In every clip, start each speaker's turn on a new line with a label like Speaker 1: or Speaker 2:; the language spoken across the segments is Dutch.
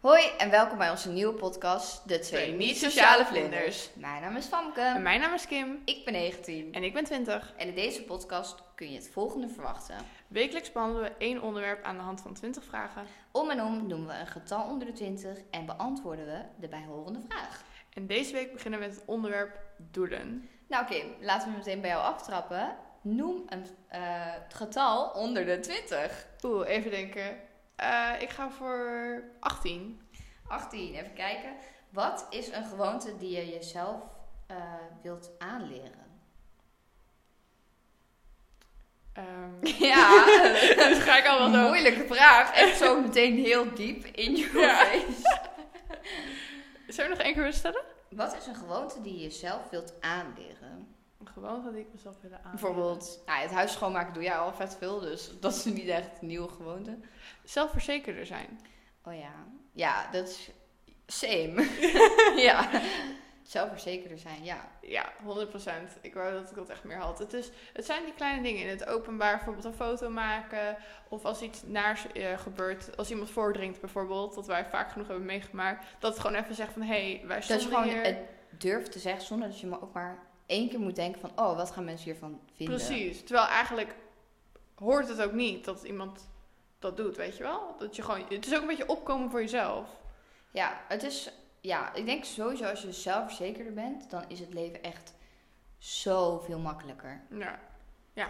Speaker 1: Hoi en welkom bij onze nieuwe podcast, De Twee Niet-Sociale Vlinders. Mijn naam is
Speaker 2: En
Speaker 1: Famke,
Speaker 2: mijn naam is Kim.
Speaker 1: ik ben 19
Speaker 2: En ik ben 20.
Speaker 1: en in deze podcast kun je het volgende verwachten.
Speaker 2: Wekelijks behandelen we één onderwerp aan de hand van 20 vragen.
Speaker 1: Om en om noemen we een getal onder de 20 en beantwoorden we de bijhorende vraag.
Speaker 2: En deze week beginnen we met het onderwerp doelen.
Speaker 1: Nou Kim, laten we meteen bij jou aftrappen. Noem een eh, getal onder de 20.
Speaker 2: Oeh, even denken. Eh, ik ga voor 18.
Speaker 1: 18, even kijken. Wat is een gewoonte die je jezelf eh, wilt aanleren?
Speaker 2: Ehm,
Speaker 1: Ja,
Speaker 2: dus ga ik al wel zo.
Speaker 1: moeilijke vraag. Echt zo meteen heel diep in je
Speaker 2: Ja.
Speaker 1: face.
Speaker 2: Zou je nog één keer willen stellen?
Speaker 1: Wat is een gewoonte die je jezelf wilt aanleren?
Speaker 2: Gewoon dat ik mezelf willen aan.
Speaker 1: Bijvoorbeeld, nou, het huis schoonmaken doe jij al vet veel, dus dat is niet echt een nieuwe gewoonte.
Speaker 2: Zelfverzekerder zijn.
Speaker 1: Oh ja, ja, dat is same. ja, zelfverzekerder zijn, ja.
Speaker 2: Ja, 100%. Ik wou dat ik dat echt meer had. Het, is, het zijn die kleine dingen in het openbaar. Bijvoorbeeld een foto maken. Of als iets naars eh, gebeurt. Als iemand voordringt bijvoorbeeld. Dat wij vaak genoeg hebben meegemaakt. Dat het gewoon even zegt van... Hé, hey, wij
Speaker 1: Dat is
Speaker 2: stonden
Speaker 1: gewoon
Speaker 2: hier.
Speaker 1: het durven te zeggen zonder dat je maar ook maar één keer moet denken van, oh, wat gaan mensen hiervan vinden?
Speaker 2: Precies. Terwijl eigenlijk hoort het ook niet dat iemand dat doet. Weet je wel? Dat je gewoon... Het is ook een beetje opkomen voor jezelf.
Speaker 1: Ja, het is, ja, ik denk sowieso als je zelfverzekerder bent, dan is het leven echt zoveel makkelijker.
Speaker 2: Ja. Ja.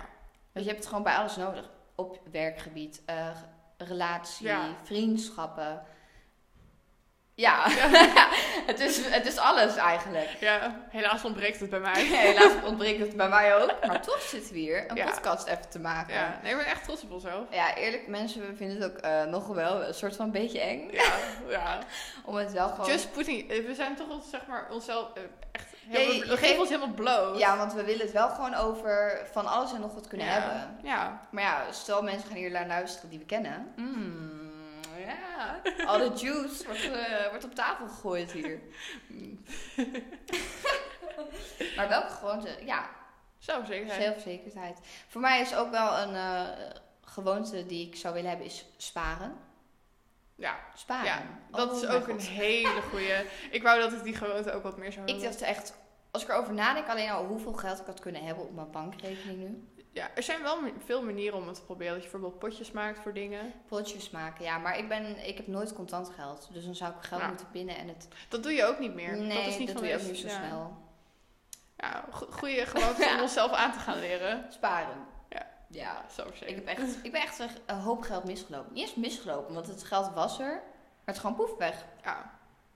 Speaker 1: Want je hebt het gewoon bij alles nodig. Op werkgebied, eh, relatie,
Speaker 2: Ja.
Speaker 1: vriendschappen. Ja, het, is, het is alles eigenlijk.
Speaker 2: Ja. Helaas ontbreekt het bij mij.
Speaker 1: Helaas ontbreekt het bij mij ook. Maar toch zitten we hier een
Speaker 2: Ja.
Speaker 1: podcast even te maken.
Speaker 2: Ja.
Speaker 1: Ja.
Speaker 2: Nee, ik ben echt trots op onszelf.
Speaker 1: eerlijk, mensen we vinden het ook eh, nog wel een soort van beetje eng.
Speaker 2: Ja. Ja.
Speaker 1: Om het wel gewoon...
Speaker 2: Just putting, eh, we zijn toch al, zeg maar onszelf eh, echt
Speaker 1: Ja,
Speaker 2: helemaal,
Speaker 1: je- je
Speaker 2: we geven
Speaker 1: geeft-
Speaker 2: ons helemaal bloot.
Speaker 1: Ja, want we willen het wel gewoon over van alles en nog wat kunnen
Speaker 2: Ja.
Speaker 1: hebben.
Speaker 2: Ja.
Speaker 1: Maar ja, stel mensen gaan hier naar luisteren die we kennen. Mm, ja, al de juice wordt, eh, wordt op tafel gegooid hier. maar welke gewoonte? Ja,
Speaker 2: Zelfverzekerdheid.
Speaker 1: zelfverzekerdheid. Voor mij is ook wel een eh, gewoonte die ik zou willen hebben, is sparen.
Speaker 2: Ja.
Speaker 1: Sparen.
Speaker 2: ja. Dat
Speaker 1: Oh
Speaker 2: is
Speaker 1: mijn
Speaker 2: ook een
Speaker 1: God.
Speaker 2: hele goeie. Ik wou dat ik die gewoonte ook wat meer zou
Speaker 1: Ik
Speaker 2: hebben.
Speaker 1: dacht echt, als ik erover nadenk, alleen al hoeveel geld ik had kunnen hebben op mijn bankrekening nu.
Speaker 2: Ja, er zijn wel ma- veel manieren om het te proberen. Dat je bijvoorbeeld potjes maakt voor dingen.
Speaker 1: Potjes maken, ja. Maar ik, ben, ik heb nooit contant geld. Dus dan zou ik geld
Speaker 2: Ja.
Speaker 1: moeten pinnen en het...
Speaker 2: Dat doe je ook niet meer.
Speaker 1: Nee,
Speaker 2: dat is niet van
Speaker 1: doe je ook
Speaker 2: deze-
Speaker 1: niet zo
Speaker 2: ja.
Speaker 1: snel.
Speaker 2: Ja, go- goeie gewoonte om
Speaker 1: Ja.
Speaker 2: onszelf aan te gaan leren.
Speaker 1: Sparen.
Speaker 2: Ja.
Speaker 1: Ja.
Speaker 2: Ja,
Speaker 1: Ik,
Speaker 2: zelfverzekerd.
Speaker 1: heb echt, ik ben echt een- een hoop geld misgelopen. Niet eens misgelopen, want het geld was er. Maar het is gewoon poef weg.
Speaker 2: Ja.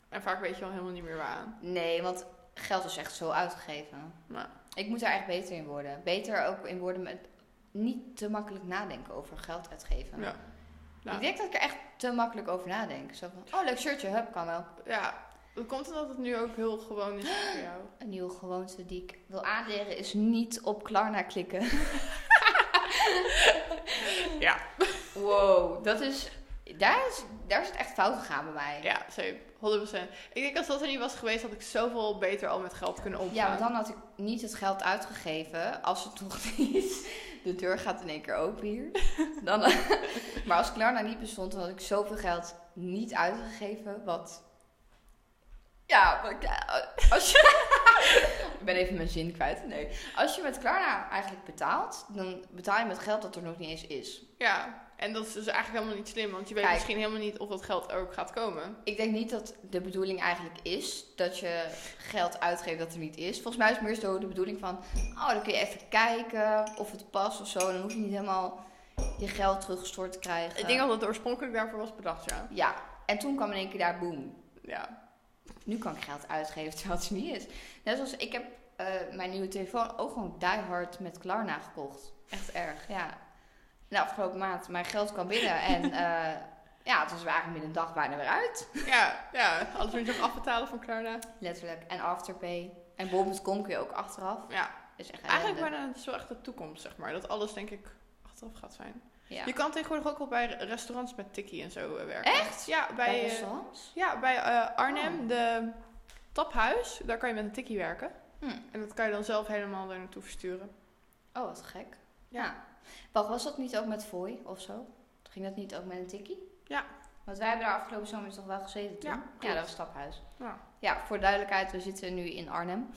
Speaker 2: En vaak weet je al helemaal niet meer waar aan.
Speaker 1: Nee, want geld is echt zo uitgegeven.
Speaker 2: Maar
Speaker 1: Ik moet daar echt beter in worden. Beter ook in worden met niet te makkelijk nadenken over geld uitgeven.
Speaker 2: Ja. Nou. Ja.
Speaker 1: Ik denk dat ik er echt te makkelijk over nadenk. Zo van, oh leuk shirtje, hup, kan wel.
Speaker 2: ja, dat komt omdat het nu ook heel gewoon is voor jou.
Speaker 1: Een nieuwe gewoonte die ik wil aanleren is niet op Klarna klikken.
Speaker 2: Ja.
Speaker 1: Wow, dat is... Daar is, daar is het echt fout gegaan bij mij.
Speaker 2: Ja, zeker. 100%. Ik denk als dat er niet was geweest, had ik zoveel beter al met geld kunnen omgaan.
Speaker 1: Ja, want dan had ik niet het geld uitgegeven. Als het toch niet. De deur gaat in één keer open hier. Dan, maar als Klarna niet bestond, dan had ik zoveel geld niet uitgegeven. Wat. Ja, wat ik- als je. ik ben even mijn zin kwijt. Nee. Als je met Klarna eigenlijk betaalt, dan betaal je met geld dat er nog niet eens is.
Speaker 2: Ja, en dat is dus eigenlijk helemaal niet slim, want je weet
Speaker 1: Kijk.
Speaker 2: misschien helemaal niet of dat geld ook gaat komen.
Speaker 1: Ik denk niet dat de bedoeling eigenlijk is dat je geld uitgeeft dat er niet is. Volgens mij is het meer zo de bedoeling van, oh, dan kun je even kijken of het past of zo. Dan hoef je niet helemaal je geld teruggestort te krijgen.
Speaker 2: Ik denk dat het oorspronkelijk daarvoor was bedacht, ja.
Speaker 1: Ja, en toen kwam in één keer daar boom.
Speaker 2: Ja,
Speaker 1: Nu kan ik geld uitgeven terwijl het er niet is. Net zoals ik heb eh, mijn nieuwe telefoon ook gewoon die hard met Klarna gekocht. Echt erg, ja. Nou, afgelopen maand mijn geld kwam binnen en eh, ja, het was eigenlijk binnen een dag bijna weer uit.
Speaker 2: ja, ja. Alles moet je nog afbetalen van Klarna.
Speaker 1: Letterlijk. En Afterpay. En bol.com kun je ook achteraf.
Speaker 2: Ja,
Speaker 1: Is echt
Speaker 2: eigenlijk
Speaker 1: ellende.
Speaker 2: bijna, het is wel echt de toekomst, zeg maar. Dat alles, denk ik, achteraf gaat zijn.
Speaker 1: Ja.
Speaker 2: Je kan tegenwoordig ook al bij restaurants met tikkie en zo eh, werken. Echt? Ja, bij,
Speaker 1: Bij
Speaker 2: eh,
Speaker 1: restaurants?
Speaker 2: ja, bij eh, Arnhem,
Speaker 1: Oh.
Speaker 2: de taphuis, daar kan je met een tikkie werken.
Speaker 1: Hm.
Speaker 2: En dat kan je dan zelf helemaal er naartoe versturen.
Speaker 1: Oh, wat gek. Nou, Ja.
Speaker 2: Ja.
Speaker 1: Wacht, was dat niet ook met fooi of zo? Ging dat niet ook met een tikkie?
Speaker 2: Ja.
Speaker 1: Want wij hebben daar afgelopen zomer dus toch wel gezeten toen?
Speaker 2: Ja, klopt.
Speaker 1: dat was staphuis.
Speaker 2: Ja.
Speaker 1: ja, voor duidelijkheid, we zitten nu in Arnhem.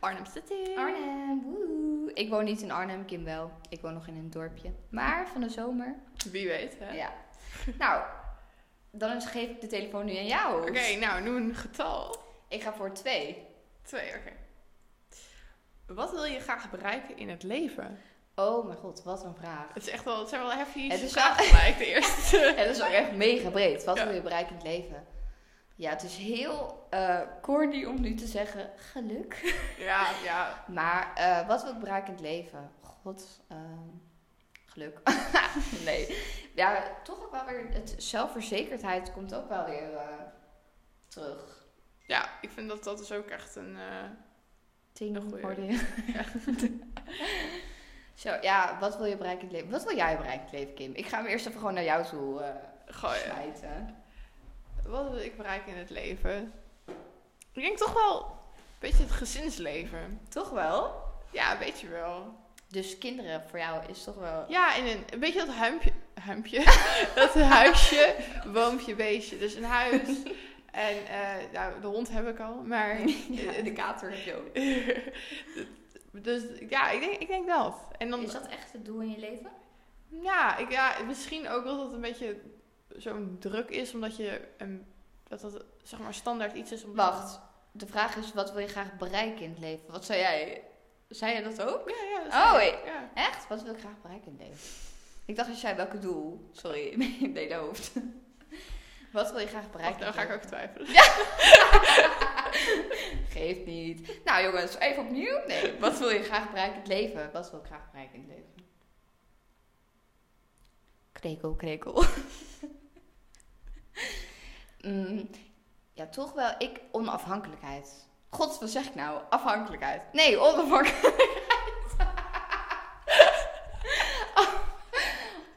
Speaker 2: Arnhem City.
Speaker 1: Arnhem, woe. Ik woon niet in Arnhem, Kim wel. Ik woon nog in een dorpje. Maar van de zomer.
Speaker 2: Wie weet, hè?
Speaker 1: Ja. Nou, dan geef ik de telefoon nu aan jou.
Speaker 2: Oké, nou, noem een getal.
Speaker 1: Ik ga voor twee.
Speaker 2: Twee, oké. Wat wil je graag bereiken in het leven?
Speaker 1: Oh mijn god, wat een vraag.
Speaker 2: Het, is echt wel, het zijn wel heftige
Speaker 1: Het is
Speaker 2: vragen gelijk, de eerste.
Speaker 1: Het is ook echt mega breed. Wat
Speaker 2: Ja.
Speaker 1: wil je bereiken in het leven? Ja, het is heel eh corny om nu te zeggen geluk.
Speaker 2: ja, ja.
Speaker 1: Maar eh, wat wil ik bereiken in het leven? God, ehm, geluk. nee. Ja, toch ook wel weer... Het zelfverzekerdheid komt ook wel weer eh, terug.
Speaker 2: Ja, ik vind dat dat is ook echt een... eh, Een
Speaker 1: Ting
Speaker 2: goeie.
Speaker 1: hoorde je. Zo, ja, wat wil je bereiken in het leven? Wat wil jij bereiken in het leven, Kim? Ik ga hem eerst even gewoon naar jou toe eh
Speaker 2: gooien.
Speaker 1: smijten.
Speaker 2: Wat wil ik bereiken in het leven? Ik denk toch wel een beetje het gezinsleven.
Speaker 1: Toch wel?
Speaker 2: Ja, weet je wel.
Speaker 1: Dus kinderen voor jou is toch wel...
Speaker 2: Ja, in een, een beetje dat huimpje. Huimpje? dat huisje, boompje, beestje. Dus een huis. en eh, nou, de hond heb ik al. Maar.
Speaker 1: Ja, de kater heb je ook.
Speaker 2: dus ja, ik denk, ik denk dat. En dan.
Speaker 1: Is dat echt het doel in je leven?
Speaker 2: Ja, ik, ja, misschien ook dat het een beetje zo'n druk is, omdat je. Een, dat dat zeg maar standaard iets is. Om
Speaker 1: Wacht, de vraag is wat wil je graag bereiken in het leven? Wat zou jij... Zei jij dat ook?
Speaker 2: Ja, ja. dat
Speaker 1: Oh,
Speaker 2: is-
Speaker 1: ik-
Speaker 2: ja.
Speaker 1: Echt? Wat wil ik graag bereiken in het leven? Ik dacht dat jij welke doel... Sorry, ik deed de hoofd. Wat wil je graag
Speaker 2: Wacht,
Speaker 1: bereiken
Speaker 2: dan
Speaker 1: in
Speaker 2: ga
Speaker 1: het
Speaker 2: ik ook
Speaker 1: leven?
Speaker 2: twijfelen.
Speaker 1: Geeft niet. Nou jongens, even opnieuw. Nee, wat wil je graag bereiken in het leven? Wat wil ik graag bereiken in het leven? Krekel, krekel. Mm, ja, toch wel. Ik, onafhankelijkheid. God, wat zeg ik nou? Afhankelijkheid. Nee, onafhankelijkheid.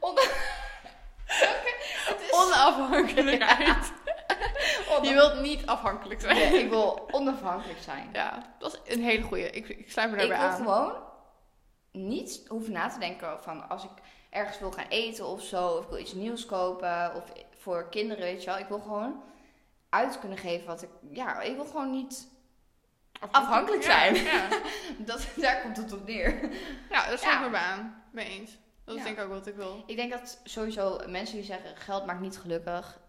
Speaker 1: On-
Speaker 2: Onafhankelijkheid. Je wilt niet afhankelijk zijn.
Speaker 1: Nee, ik wil onafhankelijk zijn.
Speaker 2: Ja, dat is een hele goeie. Ik, ik sluit me
Speaker 1: Ik
Speaker 2: daarbij
Speaker 1: wil
Speaker 2: aan.
Speaker 1: gewoon niet hoeven na te denken van als ik ergens wil gaan eten of zo, of ik wil iets nieuws kopen, of voor kinderen, weet je wel. Ik wil gewoon uit kunnen geven wat ik, ja, ik wil gewoon niet, afhankelijk zijn.
Speaker 2: Ja, ja.
Speaker 1: dat, daar komt het op neer.
Speaker 2: Ja, daar sluit ik
Speaker 1: Ja.
Speaker 2: me bij aan. Mee eens. Dat is
Speaker 1: Ja.
Speaker 2: denk ik ook wat ik wil.
Speaker 1: Ik denk dat sowieso mensen die zeggen geld maakt niet gelukkig,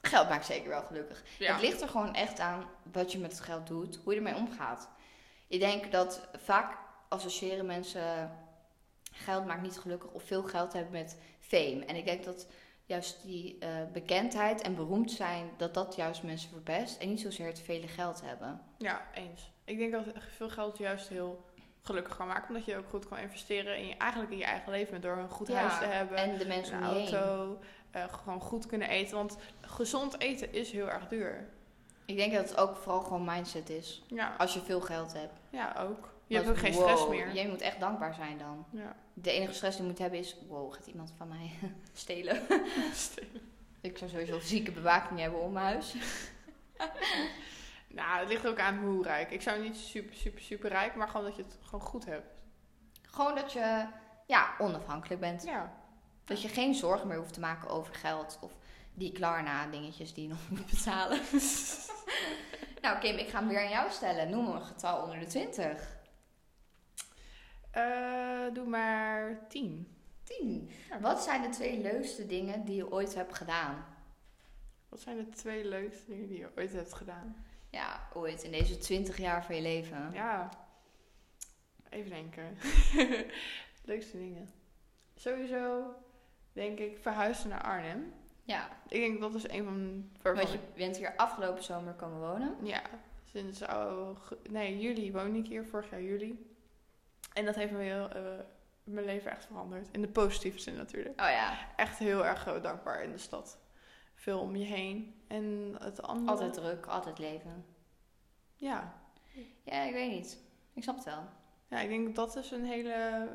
Speaker 1: geld maakt zeker wel gelukkig.
Speaker 2: Ja.
Speaker 1: Het ligt er gewoon echt aan wat je met het geld doet, hoe je ermee omgaat. Ik denk dat vaak associëren mensen geld maakt niet gelukkig of veel geld hebben met fame. En ik denk dat juist die eh, bekendheid en beroemd zijn, dat dat juist mensen verpest en niet zozeer het vele geld hebben.
Speaker 2: ja, eens. Ik denk dat veel geld juist heel gelukkig kan maken. Omdat je ook goed kan investeren in je, eigenlijk in je eigen leven. Door een goed
Speaker 1: Ja,
Speaker 2: huis te hebben.
Speaker 1: En dus de mensen
Speaker 2: een
Speaker 1: om je heen.
Speaker 2: auto. eh, gewoon goed kunnen eten. Want gezond eten is heel erg duur.
Speaker 1: Ik denk dat het ook vooral gewoon mindset is.
Speaker 2: Ja,
Speaker 1: Als je veel geld hebt.
Speaker 2: ja ook. Je hebt
Speaker 1: Want,
Speaker 2: ook geen
Speaker 1: wow,
Speaker 2: stress meer.
Speaker 1: Je moet echt dankbaar zijn dan.
Speaker 2: Ja.
Speaker 1: De enige stress die je moet hebben is, wow, gaat iemand van mij stelen? Ik zou sowieso zieke bewaking hebben om mijn huis.
Speaker 2: nou, het ligt ook aan hoe rijk. Ik zou niet super, super, super rijk. Maar gewoon dat je het gewoon goed hebt.
Speaker 1: Gewoon dat je ja, onafhankelijk bent.
Speaker 2: Ja,
Speaker 1: Dat je geen zorgen meer hoeft te maken over geld of die Klarna dingetjes die je nog moet betalen. nou Kim, ik ga hem weer aan jou stellen. Noem een getal onder de 20.
Speaker 2: Eh, doe maar tien.
Speaker 1: 10. Wat zijn de twee leukste dingen die je ooit hebt gedaan?
Speaker 2: Wat zijn de twee leukste dingen die je ooit hebt gedaan?
Speaker 1: Ja, ooit in deze 20 jaar van je leven.
Speaker 2: Ja. Even denken. leukste dingen. Sowieso denk ik verhuizen naar Arnhem.
Speaker 1: Ja,
Speaker 2: Ik denk dat is een van...
Speaker 1: want
Speaker 2: Waarvan
Speaker 1: je bent hier afgelopen zomer komen wonen.
Speaker 2: Ja. Sinds... aug- nee, juli woon ik hier. Vorig jaar juli. En dat heeft me heel, eh, mijn leven echt veranderd. In de positieve zin natuurlijk.
Speaker 1: Oh ja,
Speaker 2: Echt heel erg eh, dankbaar in de stad. Veel om je heen. En het andere...
Speaker 1: altijd druk, altijd leven.
Speaker 2: Ja.
Speaker 1: Ja, ik weet niet. Ik snap het wel.
Speaker 2: Ja, ik denk dat is een hele.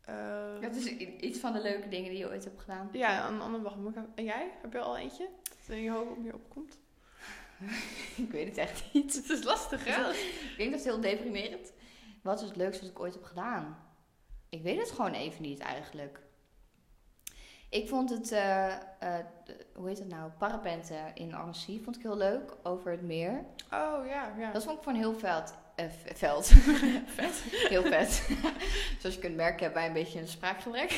Speaker 2: eh,
Speaker 1: Dat is i- iets van de leuke dingen die je ooit hebt gedaan.
Speaker 2: ja, een ander wacht. moet ik- En jij? Heb je al eentje? Dat in je hoofd op je opkomt?
Speaker 1: Ik weet het echt niet.
Speaker 2: Het is lastig, hè?
Speaker 1: Ik denk dat het heel deprimerend. Wat is het leukste wat ik ooit heb gedaan? Ik weet het gewoon even niet eigenlijk. Ik vond het, eh, eh, de- hoe heet het nou, parapenten in Annecy vond ik heel leuk, over het meer.
Speaker 2: Oh ja, ja.
Speaker 1: Nou, Dat vond ik van heel veld. eh, v- veld. Heel vet. Zoals je kunt merken hebben wij een beetje een spraakgebrek.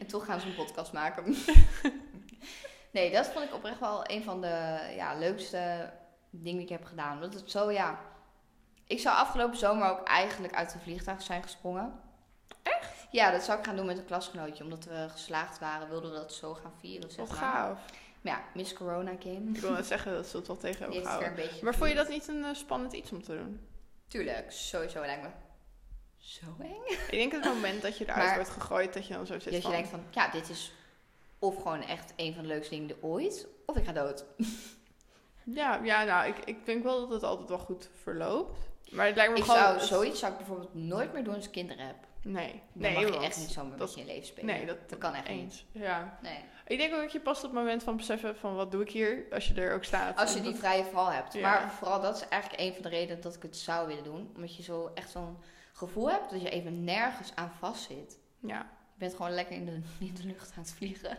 Speaker 1: en toch gaan ze een podcast maken. nee, dat vond ik oprecht wel een van de ja, leukste dingen die ik heb gedaan. Omdat het zo, ja... Ik zou afgelopen zomer ook eigenlijk uit een vliegtuig zijn gesprongen. Echt? Ja, dat zou ik gaan doen met een klasgenootje. Omdat we geslaagd waren, wilden we dat zo gaan vieren. Zeg
Speaker 2: Wat
Speaker 1: maar.
Speaker 2: gaaf.
Speaker 1: Maar ja, Miss Corona came.
Speaker 2: Ik wil net zeggen dat ze het wel tegen
Speaker 1: Die heeft
Speaker 2: hebben
Speaker 1: het weer
Speaker 2: gehouden.
Speaker 1: een beetje
Speaker 2: Maar vond je
Speaker 1: gevierd.
Speaker 2: dat niet een eh, spannend iets om te doen?
Speaker 1: Tuurlijk, sowieso lijkt me zo eng.
Speaker 2: Ik denk het moment dat je eruit
Speaker 1: Maar-
Speaker 2: wordt gegooid, dat je dan zo zit
Speaker 1: Dat je
Speaker 2: van...
Speaker 1: denkt van, ja, dit is of gewoon echt een van de leukste dingen ooit, of ik ga dood.
Speaker 2: Ja, ja nou, ik, ik denk wel dat het altijd wel goed verloopt. Maar het lijkt me
Speaker 1: Ik
Speaker 2: gewoon...
Speaker 1: zou
Speaker 2: het-
Speaker 1: zoiets zou ik bijvoorbeeld nooit meer doen als ik kinderen heb.
Speaker 2: Nee.
Speaker 1: Dan
Speaker 2: nee,
Speaker 1: mag je
Speaker 2: want-
Speaker 1: echt niet zomaar
Speaker 2: dat-
Speaker 1: met je leven spelen.
Speaker 2: Nee, dat,
Speaker 1: dat kan echt niet.
Speaker 2: eens. Ja.
Speaker 1: Nee.
Speaker 2: Ik denk ook dat je past op het moment van beseffen van wat doe ik hier, als je er ook staat.
Speaker 1: Als je
Speaker 2: En
Speaker 1: die
Speaker 2: dat-
Speaker 1: vrije val hebt.
Speaker 2: Ja.
Speaker 1: Maar vooral dat is eigenlijk een van de redenen dat ik het zou willen doen. Omdat je zo echt zo'n gevoel hebt dat je even nergens aan vast zit.
Speaker 2: Ja.
Speaker 1: Je bent gewoon lekker in de, in de lucht aan het vliegen.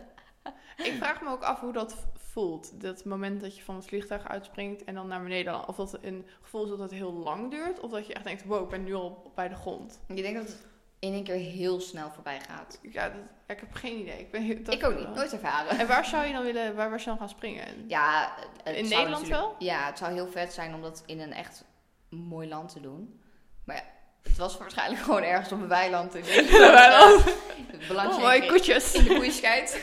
Speaker 2: Ik vraag me ook af hoe dat v- voelt. Dat moment dat je van het vliegtuig uitspringt en dan naar beneden. land. Of dat een gevoel is dat het heel lang duurt. Of dat je echt denkt, wow, ik ben nu al bij de grond.
Speaker 1: Ik denk dat het in één keer heel snel voorbij gaat.
Speaker 2: Ja, dat- ja, ik heb geen idee. Ik, ben, heel- dat-
Speaker 1: ik ook niet, nooit ervaren.
Speaker 2: En waar zou je dan willen, waar, waar zou je dan gaan springen?
Speaker 1: Ja, het zou
Speaker 2: In Nederland
Speaker 1: natuurlijk-
Speaker 2: wel?
Speaker 1: Ja, het zou heel vet zijn om dat in een echt mooi land te doen. Maar ja, het was waarschijnlijk gewoon ergens op een weiland. In Nederland.
Speaker 2: Een weiland.
Speaker 1: Eh,
Speaker 2: Oh,
Speaker 1: Belangrijk
Speaker 2: mooie
Speaker 1: in
Speaker 2: koetjes.
Speaker 1: in de koeienscheid.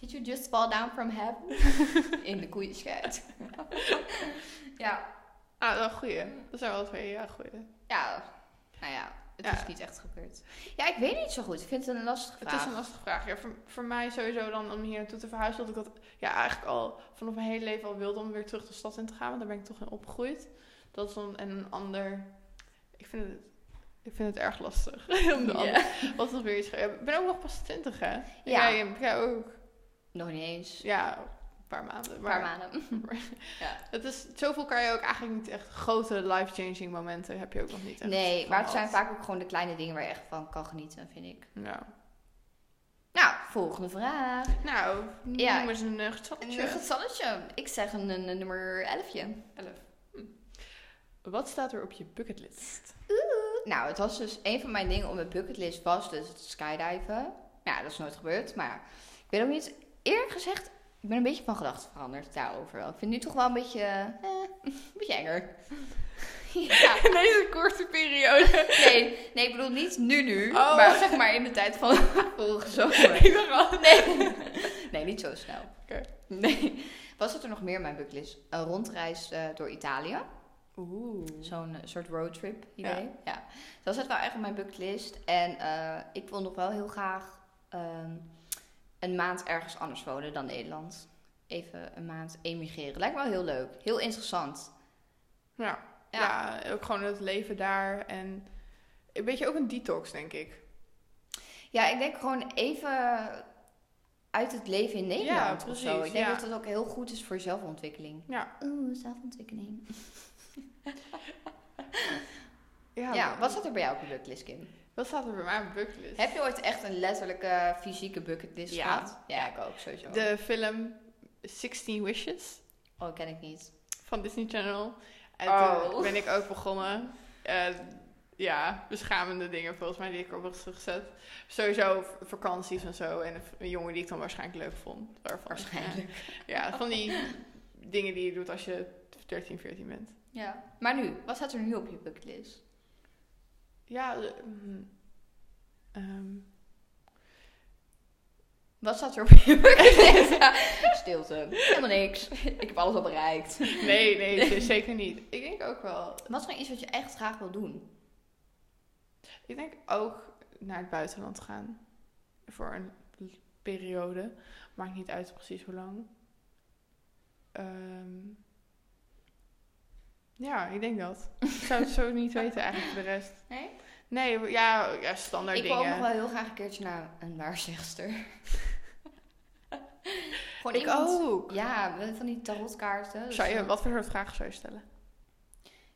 Speaker 1: Did you just fall down from heaven? In de koeienscheid. ja,
Speaker 2: Ah, wel goeie. Dat zijn wel twee ja, goeie.
Speaker 1: ja, nou ja, het
Speaker 2: Ja.
Speaker 1: is niet echt gebeurd. Ja, ik weet niet zo goed. Ik vind het een lastige
Speaker 2: Het is
Speaker 1: vraag.
Speaker 2: een lastige vraag. Ja, voor, voor mij sowieso dan om hier naartoe te verhuizen. Dat ik dat ja, eigenlijk al vanaf mijn hele leven al wilde om weer terug de stad in te gaan. Want daar ben ik toch in opgegroeid. Dat is dan en een ander... Ik vind het, ik vind het erg lastig. om de
Speaker 1: Ja.
Speaker 2: ander, wat nog weer iets... ja, ik ben ook nog pas twintig, hè? Ja.
Speaker 1: Ja.
Speaker 2: Jij, jij ook.
Speaker 1: Nog niet eens.
Speaker 2: Ja, een paar maanden.
Speaker 1: Een
Speaker 2: maar-
Speaker 1: paar maanden.
Speaker 2: Het is, zoveel kan je ook eigenlijk niet echt. Grote life-changing momenten heb je ook nog niet echt.
Speaker 1: Nee, maar het zijn
Speaker 2: gehad.
Speaker 1: vaak ook gewoon de kleine dingen waar je echt van kan genieten, vind ik.
Speaker 2: Ja.
Speaker 1: Nou, volgende vraag.
Speaker 2: Nou,
Speaker 1: Ja.
Speaker 2: noem eens een uh,
Speaker 1: Een getalletje. Ik zeg een, een, een nummer 11.
Speaker 2: Wat staat er op je bucketlist?
Speaker 1: Nou, het was dus een van mijn dingen op mijn bucketlist was dus het skydiven. Ja, dat is nooit gebeurd, maar ik weet ook niet. Eerlijk gezegd, ik ben een beetje van gedachten veranderd daarover. wel. Ik vind het nu toch wel een beetje, eh, een beetje enger. ja.
Speaker 2: In deze korte periode.
Speaker 1: Nee, nee, ik bedoel niet nu nu,
Speaker 2: Oh.
Speaker 1: maar zeg maar in de tijd van vorige zomer.
Speaker 2: Ik dacht al.
Speaker 1: Nee. nee, niet zo snel.
Speaker 2: Oké.
Speaker 1: Nee. Was het er nog meer in mijn bucketlist? Een rondreis eh, door Italië.
Speaker 2: Oeh.
Speaker 1: Zo'n eh, soort roadtrip idee. Ja. Dat zat wel echt op mijn bucketlist. En eh, ik wil nog wel heel graag ehm, een maand ergens anders wonen dan Nederland. Even een maand emigreren. Lijkt me wel heel leuk. Heel interessant.
Speaker 2: Ja.
Speaker 1: Ja.
Speaker 2: ja. ook gewoon het leven daar. En een beetje ook een detox, denk ik.
Speaker 1: Ja, ik denk gewoon even uit het leven in Nederland of zo.
Speaker 2: precies,
Speaker 1: Ik denk
Speaker 2: ja.
Speaker 1: dat dat ook heel goed is voor je zelfontwikkeling.
Speaker 2: Ja.
Speaker 1: Oeh, zelfontwikkeling. Ja,
Speaker 2: maar-
Speaker 1: wat staat er bij jou op je bucketlist, Kim?
Speaker 2: wat staat er bij mij op mijn bucketlist?
Speaker 1: Heb je ooit echt een letterlijke fysieke bucketlist
Speaker 2: Dus Ja.
Speaker 1: gehad? Ja, ik ook, sowieso.
Speaker 2: De film 16 Wishes.
Speaker 1: Oh, ken ik niet.
Speaker 2: van Disney Channel. En
Speaker 1: Oh.
Speaker 2: toen ben ik ook begonnen. Eh, ja, beschamende dingen volgens mij die ik op was gezet. Sowieso v- vakanties en zo. En een v- een jongen die ik dan waarschijnlijk leuk vond. Waarvan,
Speaker 1: Waarschijnlijk.
Speaker 2: Ja, van die dingen die je doet als je 13, 14 bent.
Speaker 1: Ja. Maar nu, wat staat er nu op je bucketlist?
Speaker 2: Ja, eh, mhm. Ehm,
Speaker 1: Wat staat er op je bucketlist? Stilte. Helemaal niks. Ik heb alles al bereikt.
Speaker 2: nee, nee, z- zeker niet. Ik denk ook wel.
Speaker 1: Wat is nou iets wat je echt graag wil doen?
Speaker 2: Ik denk ook naar het buitenland gaan. Voor een l- periode. Maakt niet uit precies hoe lang. Ehm, ja, ik denk dat. Ik zou het zo niet weten eigenlijk voor de rest.
Speaker 1: Nee?
Speaker 2: Nee, ja, ja standaard
Speaker 1: ik wil ook nog
Speaker 2: dingen.
Speaker 1: wel heel graag een keertje naar een waarzegster. Gewoon
Speaker 2: ik
Speaker 1: iemand...
Speaker 2: ook.
Speaker 1: Ja, van die tarotkaarten.
Speaker 2: Zou je, wat voor soort vragen zou je stellen?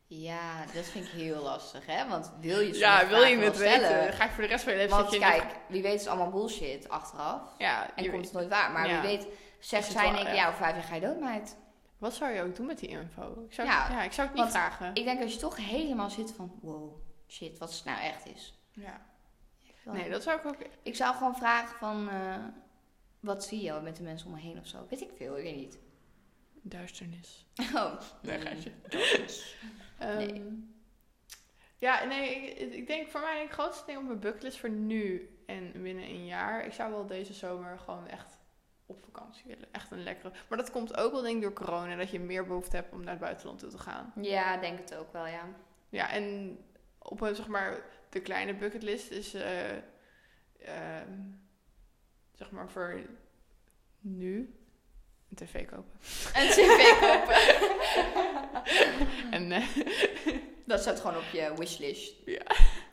Speaker 1: Ja, dat vind ik heel lastig, hè? Want wil je
Speaker 2: ja, wil je het
Speaker 1: het
Speaker 2: weten? Ga ik voor de rest van je leven
Speaker 1: Want
Speaker 2: zit je in de-
Speaker 1: kijk, wie weet is allemaal bullshit achteraf.
Speaker 2: Ja,
Speaker 1: En
Speaker 2: je
Speaker 1: komt
Speaker 2: weet-
Speaker 1: het nooit waar. Maar
Speaker 2: Ja.
Speaker 1: wie weet,
Speaker 2: Is
Speaker 1: zegt
Speaker 2: het
Speaker 1: zij en
Speaker 2: wel,
Speaker 1: ik,
Speaker 2: ja.
Speaker 1: ja, over vijf jaar ga je dood, meid.
Speaker 2: Wat zou je ook doen met die info? Ik zou, ja,
Speaker 1: Ja,
Speaker 2: ik zou het niet
Speaker 1: want
Speaker 2: vragen.
Speaker 1: Ik denk als je toch helemaal zit van, wow, shit, wat het nou echt is.
Speaker 2: Ja.
Speaker 1: Dan-
Speaker 2: Nee, dat zou ik ook.
Speaker 1: Ik zou gewoon vragen van, eh, wat zie je al met de mensen om me heen of zo? Weet ik veel, ik weet niet.
Speaker 2: Duisternis.
Speaker 1: Oh,
Speaker 2: Nee,
Speaker 1: mm,
Speaker 2: geintje.
Speaker 1: dat is-
Speaker 2: Ehm, Ja, nee, ik, ik denk voor mij het grootste ding op mijn bucketlist voor nu en binnen een jaar. Ik zou wel deze zomer gewoon echt op vakantie willen. Echt een lekkere. Maar dat komt ook wel denk ik door corona, dat je meer behoefte hebt om naar het buitenland toe te gaan.
Speaker 1: Mm. Ja, denk het ook wel, ja.
Speaker 2: Ja, en op een, zeg maar, de kleine bucketlist is, eh, ehm, zeg maar, voor nu een tv kopen.
Speaker 1: En tv kopen.
Speaker 2: En eh,
Speaker 1: Dat staat gewoon op je wishlist.
Speaker 2: Ja.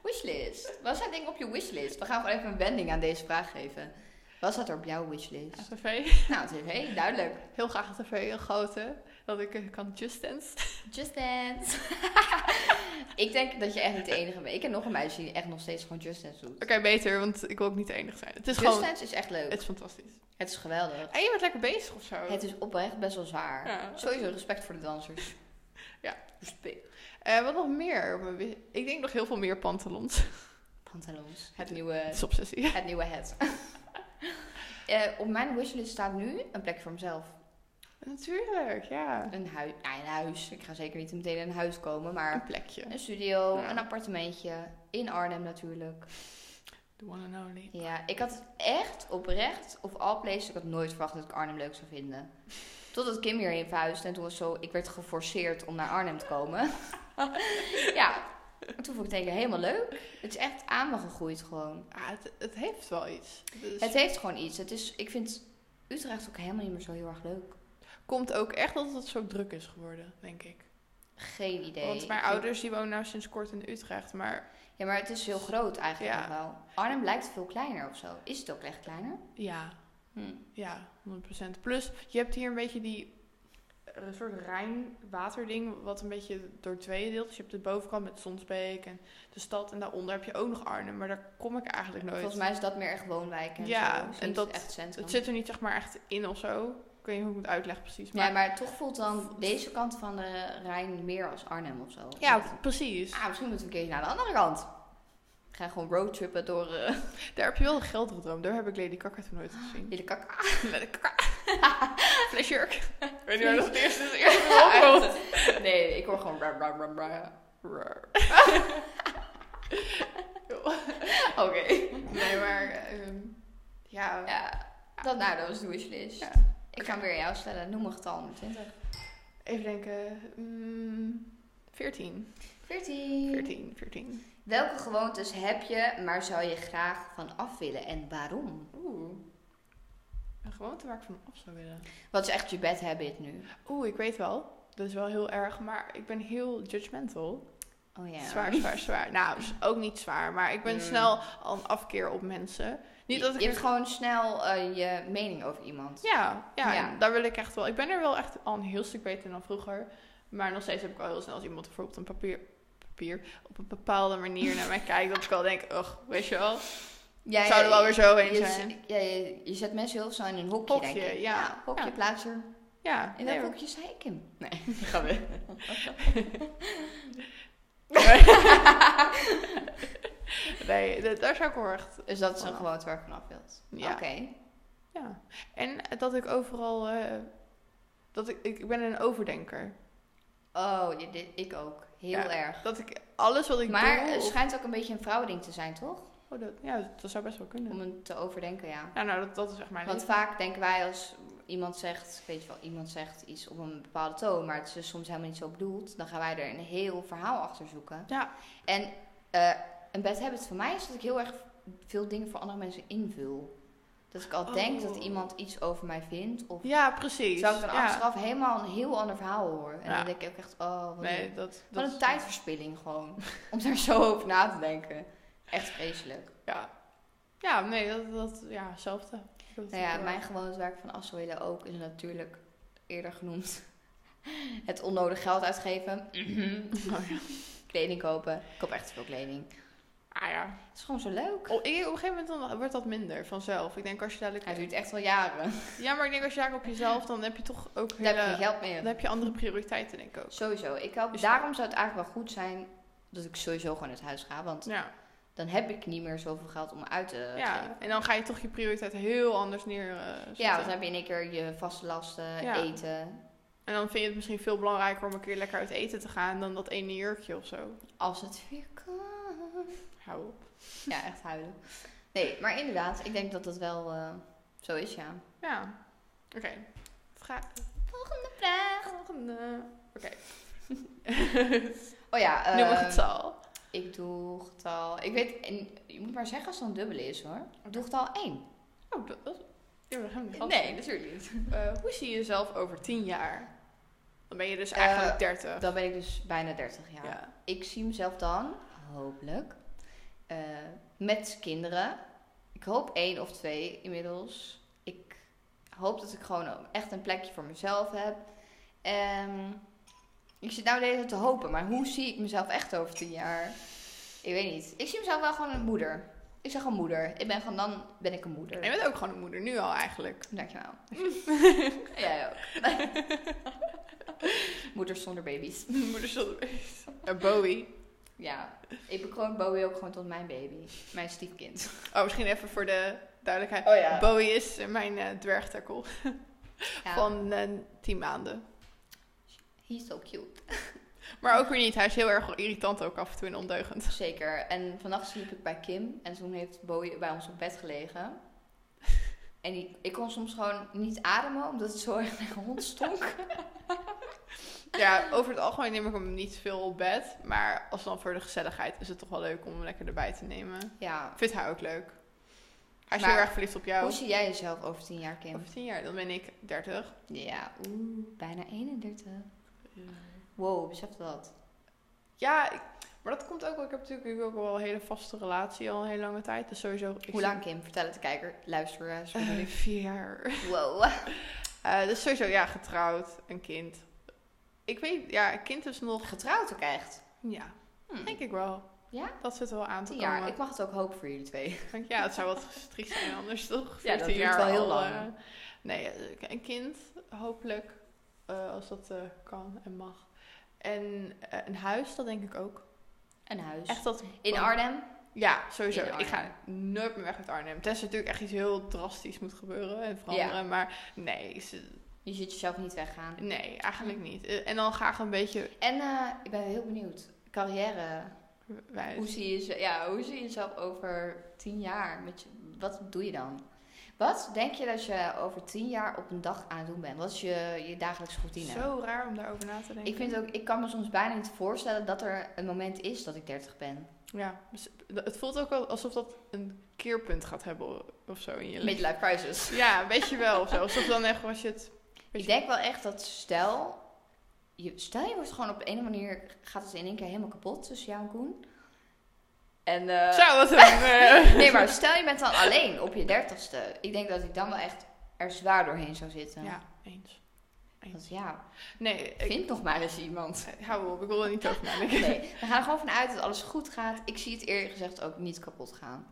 Speaker 1: Wishlist. Wat staat denk ik op je wishlist? We gaan gewoon even een wending aan deze vraag geven. Wat staat er op jouw wishlist?
Speaker 2: een tv.
Speaker 1: Nou, tv, duidelijk.
Speaker 2: Heel graag een tv, een grote. Dat ik eh, kan just dance.
Speaker 1: Just Dance. ik denk dat je echt niet de enige bent. Ik heb nog een meisje die echt nog steeds gewoon Just Dance doet.
Speaker 2: Oké, beter, want ik wil ook niet de enige zijn. Het is
Speaker 1: Just
Speaker 2: gewoon...
Speaker 1: Dance is echt leuk.
Speaker 2: Het
Speaker 1: Het,
Speaker 2: is fantastisch.
Speaker 1: is geweldig.
Speaker 2: En je bent lekker bezig of zo.
Speaker 1: Het is oprecht best wel zwaar.
Speaker 2: Ja.
Speaker 1: Sowieso respect voor de dansers.
Speaker 2: Ja.
Speaker 1: Respect.
Speaker 2: Eh, wat nog meer? op mijn wi- Ik denk nog heel veel meer pantalons.
Speaker 1: Pantalons. eh, Het
Speaker 2: Het
Speaker 1: nieuwe,
Speaker 2: is obsessie.
Speaker 1: het nieuwe het. Eh, op mijn wishlist staat nu een plek voor mezelf.
Speaker 2: Natuurlijk, ja.
Speaker 1: Een, hui ah, een huis. Ik ga zeker niet meteen in een huis komen,
Speaker 2: Een
Speaker 1: maar
Speaker 2: plekje.
Speaker 1: een studio,
Speaker 2: Ja.
Speaker 1: een appartementje. In Arnhem natuurlijk.
Speaker 2: The one and only.
Speaker 1: Ja, ik had echt oprecht, of all places, ik had nooit verwacht dat ik Arnhem leuk zou vinden. Totdat Kim hierheen verhuisde en toen was zo, ik werd geforceerd om naar Arnhem te komen. ja, en toen vond ik het denk ik helemaal leuk. Het is echt aan me gegroeid gewoon.
Speaker 2: Ah, het, het heeft wel iets. Dus
Speaker 1: Het heeft gewoon iets. Het is, ik vind Utrecht ook helemaal niet meer zo heel erg leuk.
Speaker 2: komt ook echt dat het zo druk is geworden, denk ik.
Speaker 1: Geen idee.
Speaker 2: Want mijn
Speaker 1: Ik vind-
Speaker 2: ouders die wonen nou sinds kort in Utrecht, maar
Speaker 1: Ja, maar het is heel groot eigenlijk
Speaker 2: Ja.
Speaker 1: nog wel. Arnhem lijkt veel kleiner of zo. Is het ook echt kleiner?
Speaker 2: ja,
Speaker 1: Hm.
Speaker 2: ja, 100%. Plus, je hebt hier een beetje die eh, een soort Rijnwaterding, wat een beetje door tweeën deelt. Dus je hebt de bovenkant met Sonsbeek en de stad en daaronder heb je ook nog Arnhem, maar daar kom ik eigenlijk nooit.
Speaker 1: Volgens mij is dat meer echt woonwijk en
Speaker 2: Ja,
Speaker 1: zo. Is
Speaker 2: en
Speaker 1: niet
Speaker 2: dat-
Speaker 1: echt centrum.
Speaker 2: Het zit er niet zeg maar echt in of zo. Ik weet niet hoe ik het moet uitleggen precies. Maar...
Speaker 1: Ja, maar toch voelt dan deze kant van de Rijn meer als Arnhem of zo.
Speaker 2: Ja, precies.
Speaker 1: Ah, misschien moeten we een keertje naar de andere kant. We gaan gewoon roadtrippen door eh
Speaker 2: Daar heb je wel een geldere droom. Daar heb ik Lady Gaga toen nooit gezien.
Speaker 1: de kak.
Speaker 2: Met een kak. Flesjurk. Weet je waar dat het eerste is?
Speaker 1: nee, ik hoor gewoon ra, ra, ra, ra. Oké.
Speaker 2: Nee, maar... ehm, ja.
Speaker 1: Ja, dat, nou, dat was de wishlist.
Speaker 2: Ja.
Speaker 1: Ik ga hem weer aan jou stellen. Noem een getal onder 20.
Speaker 2: Even denken. mm, 14.
Speaker 1: 14.
Speaker 2: 14, 14.
Speaker 1: Welke gewoontes heb je, maar zou je graag van af willen en waarom?
Speaker 2: Oeh. Een gewoonte waar ik van af zou willen.
Speaker 1: Wat is echt je bad habit nu?
Speaker 2: Oeh, ik weet wel. Dat is wel heel erg, maar ik ben heel judgmental.
Speaker 1: Oh ja.
Speaker 2: Zwaar, zwaar, zwaar. Nou, is ook niet zwaar, maar ik ben
Speaker 1: Mm.
Speaker 2: snel al een afkeer op mensen. Niet dat ik
Speaker 1: je
Speaker 2: er-
Speaker 1: hebt gewoon snel eh, je mening over iemand.
Speaker 2: Ja, ja,
Speaker 1: Ja.
Speaker 2: en daar wil ik echt wel. Ik ben er wel echt al een heel stuk beter dan vroeger. Maar nog steeds heb ik wel heel snel als iemand bijvoorbeeld een papier, papier op een bepaalde manier naar mij kijkt, dat ik wel denk, ugh, weet je wel,
Speaker 1: Ja,
Speaker 2: zou er wel weer zo heen
Speaker 1: je,
Speaker 2: zijn.
Speaker 1: ja, je, je zet mensen heel snel in een hokje,
Speaker 2: Hokje,
Speaker 1: denk ik.
Speaker 2: ja.
Speaker 1: hokje,
Speaker 2: Ja.
Speaker 1: plaatser.
Speaker 2: Ja,
Speaker 1: In
Speaker 2: nee,
Speaker 1: dat
Speaker 2: hoor.
Speaker 1: hokje zei ik hem. Nee, ga weg.
Speaker 2: nee, d- daar zou ik wel echt.
Speaker 1: Dus dat is een gewoonte waar ik vanaf wilt.
Speaker 2: Ja.
Speaker 1: Oké.
Speaker 2: Ja. En dat ik overal, eh, dat ik, ik ben een overdenker.
Speaker 1: Oh, dit, dit- ik ook. Heel
Speaker 2: Ja.
Speaker 1: erg.
Speaker 2: Dat ik alles wat ik
Speaker 1: Maar
Speaker 2: doe.
Speaker 1: het
Speaker 2: of-
Speaker 1: schijnt ook een beetje een vrouwending te zijn, toch?
Speaker 2: oh, dat, ja, dat zou best wel kunnen.
Speaker 1: Om het te overdenken, ja.
Speaker 2: Ja, nou, dat, dat is echt mijn
Speaker 1: Want
Speaker 2: leven.
Speaker 1: vaak denken wij als iemand zegt, weet je wel, iemand zegt iets op een bepaalde toon, maar het is dus soms helemaal niet zo bedoeld, dan gaan wij er een heel verhaal achter zoeken.
Speaker 2: Ja.
Speaker 1: En eh, een bad habit van mij is dat ik heel erg veel dingen voor andere mensen invul. Dat ik al
Speaker 2: Oh.
Speaker 1: denk dat iemand iets over mij vindt, of
Speaker 2: Ja, precies.
Speaker 1: zou ik dan
Speaker 2: ja.
Speaker 1: achteraf helemaal een heel ander verhaal horen. En
Speaker 2: Ja.
Speaker 1: dan denk ik ook echt, oh, wat,
Speaker 2: Nee,
Speaker 1: een,
Speaker 2: dat,
Speaker 1: wat
Speaker 2: dat
Speaker 1: een tijdverspilling gewoon, om daar zo over na te denken. Echt vreselijk.
Speaker 2: Ja. Ja, nee, dat, dat ja, hetzelfde. Dat-
Speaker 1: Nou ja, mijn gewoonte waar ik van af zou willen ook is natuurlijk eerder genoemd Het onnodig geld uitgeven.
Speaker 2: Oh ja.
Speaker 1: Kleding kopen. Ik koop echt te veel kleding.
Speaker 2: Ah ja.
Speaker 1: Het is gewoon zo leuk.
Speaker 2: Op, ik- op een gegeven moment dan wordt dat minder vanzelf. Ik denk als je dadelijk...
Speaker 1: Hij duurt echt al jaren.
Speaker 2: Ja, maar ik denk als je daar op jezelf, dan heb je toch ook
Speaker 1: Daar heb
Speaker 2: hele-
Speaker 1: ik geen geld
Speaker 2: dan
Speaker 1: meer.
Speaker 2: heb je andere prioriteiten, denk ik ook.
Speaker 1: Sowieso. Ik hou,
Speaker 2: Dus-
Speaker 1: daarom zou het eigenlijk wel goed zijn dat ik sowieso gewoon uit huis ga. Want
Speaker 2: Ja.
Speaker 1: dan heb ik niet meer zoveel geld om uit te geven.
Speaker 2: ja, en dan ga je toch je prioriteit heel anders neer. eh, zetten.
Speaker 1: Ja, want dan heb je in één keer je vaste lasten,
Speaker 2: Ja.
Speaker 1: eten.
Speaker 2: En dan vind je het misschien veel belangrijker om een keer lekker uit eten te gaan dan dat ene jurkje of zo.
Speaker 1: Als het weer kan.
Speaker 2: Hou op.
Speaker 1: Ja, echt huilen. Nee, maar inderdaad, ik denk dat dat wel eh, zo is, ja.
Speaker 2: Ja. Oké. Vraag.
Speaker 1: Volgende vraag.
Speaker 2: Volgende. Oké.
Speaker 1: Oh ja, eh,
Speaker 2: Nummer getal.
Speaker 1: ik doe getal... Ik weet, en je moet maar zeggen als het een dubbele is, hoor. Ik doe getal 1.
Speaker 2: Oh, dat dat- ja, we gaan niet
Speaker 1: Nee,
Speaker 2: antwoorden.
Speaker 1: natuurlijk niet.
Speaker 2: Eh, hoe zie je jezelf over tien jaar? Dan ben je dus
Speaker 1: Eh,
Speaker 2: eigenlijk 30.
Speaker 1: Dan ben ik dus bijna 30 jaar.
Speaker 2: ja.
Speaker 1: Ik zie mezelf dan, hopelijk, eh, met kinderen. Ik hoop één of twee inmiddels. Ik hoop dat ik gewoon echt een plekje voor mezelf heb. Ehm, ik zit nou de hele tijd te hopen, maar hoe zie ik mezelf echt over tien jaar? Ik weet niet. Ik zie mezelf wel gewoon een moeder. Ik zeg gewoon moeder. Ik ben gewoon, dan ben ik een
Speaker 2: En
Speaker 1: moeder.
Speaker 2: je bent ook gewoon een moeder, nu al eigenlijk.
Speaker 1: Dankjewel. Jij ook. Moeders zonder baby's.
Speaker 2: moeder zonder Eh, Bowie.
Speaker 1: Ja, ik bekroon Bowie ook gewoon tot mijn baby. Mijn stiefkind.
Speaker 2: Oh, misschien even voor de duidelijkheid.
Speaker 1: Oh ja.
Speaker 2: Bowie is eh, mijn eh dwergtakkel
Speaker 1: Ja,
Speaker 2: van eh 10 maanden.
Speaker 1: He's so cute.
Speaker 2: Maar ook weer niet, hij is heel erg irritant ook af en toe en ondeugend.
Speaker 1: Zeker. En vannacht sliep ik bij Kim. En toen heeft Bowie bij ons op bed gelegen. En die- ik kon soms gewoon niet ademen, omdat het zo erg naar hond stonk.
Speaker 2: Ja, over het algemeen neem ik hem niet veel op bed. Maar als dan voor de gezelligheid is het toch wel leuk om hem lekker erbij te nemen.
Speaker 1: Ja.
Speaker 2: Vindt hij ook leuk. Hij is
Speaker 1: Maar
Speaker 2: heel erg verliefd op jou.
Speaker 1: Hoe zie jij jezelf over tien jaar, Kim?
Speaker 2: Over tien jaar, dan ben ik 30.
Speaker 1: Ja, oeh, bijna 31. Wow, besef dat.
Speaker 2: Ja, ik- maar dat komt ook wel. Ik heb natuurlijk ook wel een hele vaste relatie al een hele lange tijd. Dus sowieso... ik
Speaker 1: Hoe lang, Kim? Vertel het de kijker. Luisteraars.
Speaker 2: zie- Eh,
Speaker 1: bedoel ik.
Speaker 2: vier jaar.
Speaker 1: Wow.
Speaker 2: Eh, dus sowieso, ja, getrouwd. Een kind. Ik weet, ja, een kind is nog...
Speaker 1: Getrouwd ook echt.
Speaker 2: Ja,
Speaker 1: Hm.
Speaker 2: denk ik wel.
Speaker 1: Ja?
Speaker 2: Dat zit er wel aan te
Speaker 1: Tien
Speaker 2: komen.
Speaker 1: jaar. Ik mag het ook hopen voor jullie twee.
Speaker 2: Denk, ja, het zou wat strikt zijn anders, toch?
Speaker 1: Ja, dat
Speaker 2: 14
Speaker 1: duurt
Speaker 2: jaar
Speaker 1: wel heel
Speaker 2: al,
Speaker 1: lang.
Speaker 2: eh, nee, eh, een kind, hopelijk, eh, als dat eh, kan en mag. En eh, een huis, dat denk ik ook.
Speaker 1: Een huis.
Speaker 2: Echt dat...
Speaker 1: In Arnhem?
Speaker 2: Ja, sowieso.
Speaker 1: In Arnhem.
Speaker 2: Ik ga nooit meer weg uit Arnhem. Tenzij natuurlijk echt iets heel drastisch moet gebeuren en veranderen. Maar nee, ze-
Speaker 1: Je ziet jezelf niet weggaan.
Speaker 2: nee, eigenlijk niet. Eh, En dan graag een beetje...
Speaker 1: En eh, ik ben heel benieuwd. Carrière.
Speaker 2: wijs.
Speaker 1: Hoe zie, je, ze- ja, hoe zie je jezelf over tien jaar? Met je, wat doe je dan? Wat denk je dat je over tien jaar op een dag aan het doen bent? Wat is je, je dagelijkse routine?
Speaker 2: Zo raar om daarover na te denken.
Speaker 1: Ik, vind ook, ik kan me soms bijna niet voorstellen dat er een moment is dat ik 30 ben.
Speaker 2: Ja, dus het voelt ook wel alsof dat een keerpunt gaat hebben of zo in je leven.
Speaker 1: Midlife crisis.
Speaker 2: Ja, weet je wel of zo. Alsof dan echt was je het...
Speaker 1: Ik denk wel echt dat stel... Je, stel je wordt gewoon op de ene manier... Gaat het in één keer helemaal kapot tussen jou en Koen. En... eh,
Speaker 2: Zou wat een... eh,
Speaker 1: Nee, maar stel je bent dan alleen op je dertigste. Ik denk dat ik dan wel echt er zwaar doorheen zou zitten.
Speaker 2: Ja, eens.
Speaker 1: Want ja,
Speaker 2: Nee, ik,
Speaker 1: vind nog maar eens iemand.
Speaker 2: eh, hou op. Ik wil er niet over nadenken.
Speaker 1: Nee, we gaan er gewoon vanuit dat alles goed gaat. Ik zie het eerlijk gezegd ook niet kapot gaan.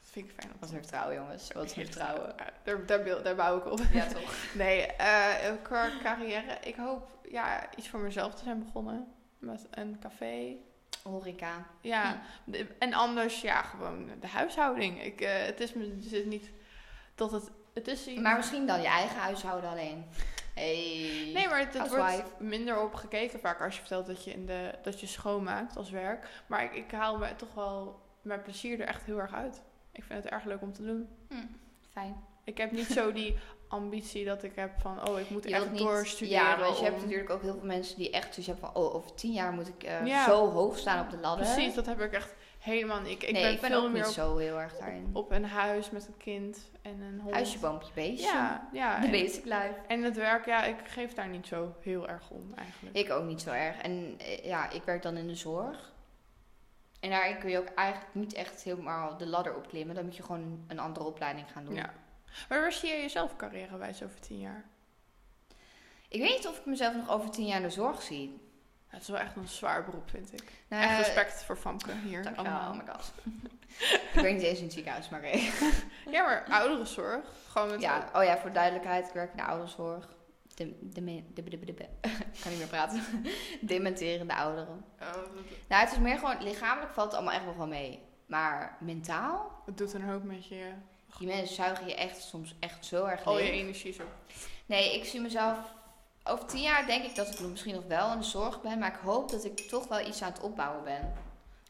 Speaker 2: Dat vind ik fijn. om te
Speaker 1: Wat vertrouwen, jongens. Wat
Speaker 2: horen.
Speaker 1: vertrouwen.
Speaker 2: Ja, Daar, daar, beel- daar bouw ik op.
Speaker 1: Ja, toch?
Speaker 2: Nee, eh qua carrière. Ik hoop ja, iets voor mezelf te zijn begonnen. Met een café.
Speaker 1: Horeca.
Speaker 2: Ja, de- en anders ja, gewoon de huishouding. Ik, eh, het is me- het is niet dat het... Het is iets-
Speaker 1: Maar misschien dan je eigen huishouden alleen. Hey.
Speaker 2: Nee, maar het, het wordt
Speaker 1: Housewife.
Speaker 2: minder op gekeken vaak als je vertelt dat je, in de, dat je schoonmaakt als werk. Maar ik, ik haal me toch wel mijn plezier er echt heel erg uit. Ik vind het erg leuk om te doen.
Speaker 1: Hm. Fijn.
Speaker 2: Ik heb niet zo die ambitie dat ik heb van, oh, ik moet
Speaker 1: Je wilt
Speaker 2: echt
Speaker 1: niet-
Speaker 2: doorstuderen.
Speaker 1: Ja, want je
Speaker 2: om-
Speaker 1: hebt natuurlijk ook heel veel mensen die echt zoiets hebben van... Oh, over tien jaar moet ik eh,
Speaker 2: Ja.
Speaker 1: zo hoog staan op de ladder.
Speaker 2: Precies, dat heb ik echt helemaal niet. Ik, ik
Speaker 1: nee,
Speaker 2: ben,
Speaker 1: ik ben
Speaker 2: veel
Speaker 1: ook
Speaker 2: meer
Speaker 1: niet
Speaker 2: op,
Speaker 1: zo heel erg daarin.
Speaker 2: op, op een huis met een kind en een hond.
Speaker 1: Huisje, boompje, beestje.
Speaker 2: Ja, ja.
Speaker 1: De
Speaker 2: En,
Speaker 1: basic life.
Speaker 2: en het werk, ja, ik geef daar niet zo heel erg om eigenlijk.
Speaker 1: Ik ook niet zo erg. En eh, ja, ik werk dan in de zorg. En daarin kun je ook eigenlijk niet echt helemaal de ladder opklimmen. Dan moet je gewoon een andere opleiding gaan doen.
Speaker 2: Ja. Maar waar zie je jezelf carrièrewijs over tien jaar?
Speaker 1: Ik weet niet of ik mezelf nog over tien jaar in de zorg zie.
Speaker 2: Het is wel echt een zwaar beroep, vind ik.
Speaker 1: Nou,
Speaker 2: echt respect voor Famke hier
Speaker 1: Dankjewel,
Speaker 2: allemaal.
Speaker 1: oh my god. ik werk niet eens in het ziekenhuis, maar eh.
Speaker 2: Ja, maar ouderenzorg. Gewoon met
Speaker 1: Ja, oh ja, voor duidelijkheid, ik werk in de ouderenzorg. De, de, de, de, de, de- ik kan niet meer praten. Dementerende ouderen.
Speaker 2: Oh, dat-
Speaker 1: Nou, het is meer gewoon, lichamelijk valt het allemaal echt nog wel mee. Maar mentaal,
Speaker 2: het doet een hoop met je.
Speaker 1: die mensen zuigen je echt soms echt zo erg
Speaker 2: Al je
Speaker 1: leeg.
Speaker 2: energie zo.
Speaker 1: Nee, ik zie mezelf... Over tien jaar denk ik dat ik misschien nog wel in de zorg ben. Maar ik hoop dat ik toch wel iets aan het opbouwen ben.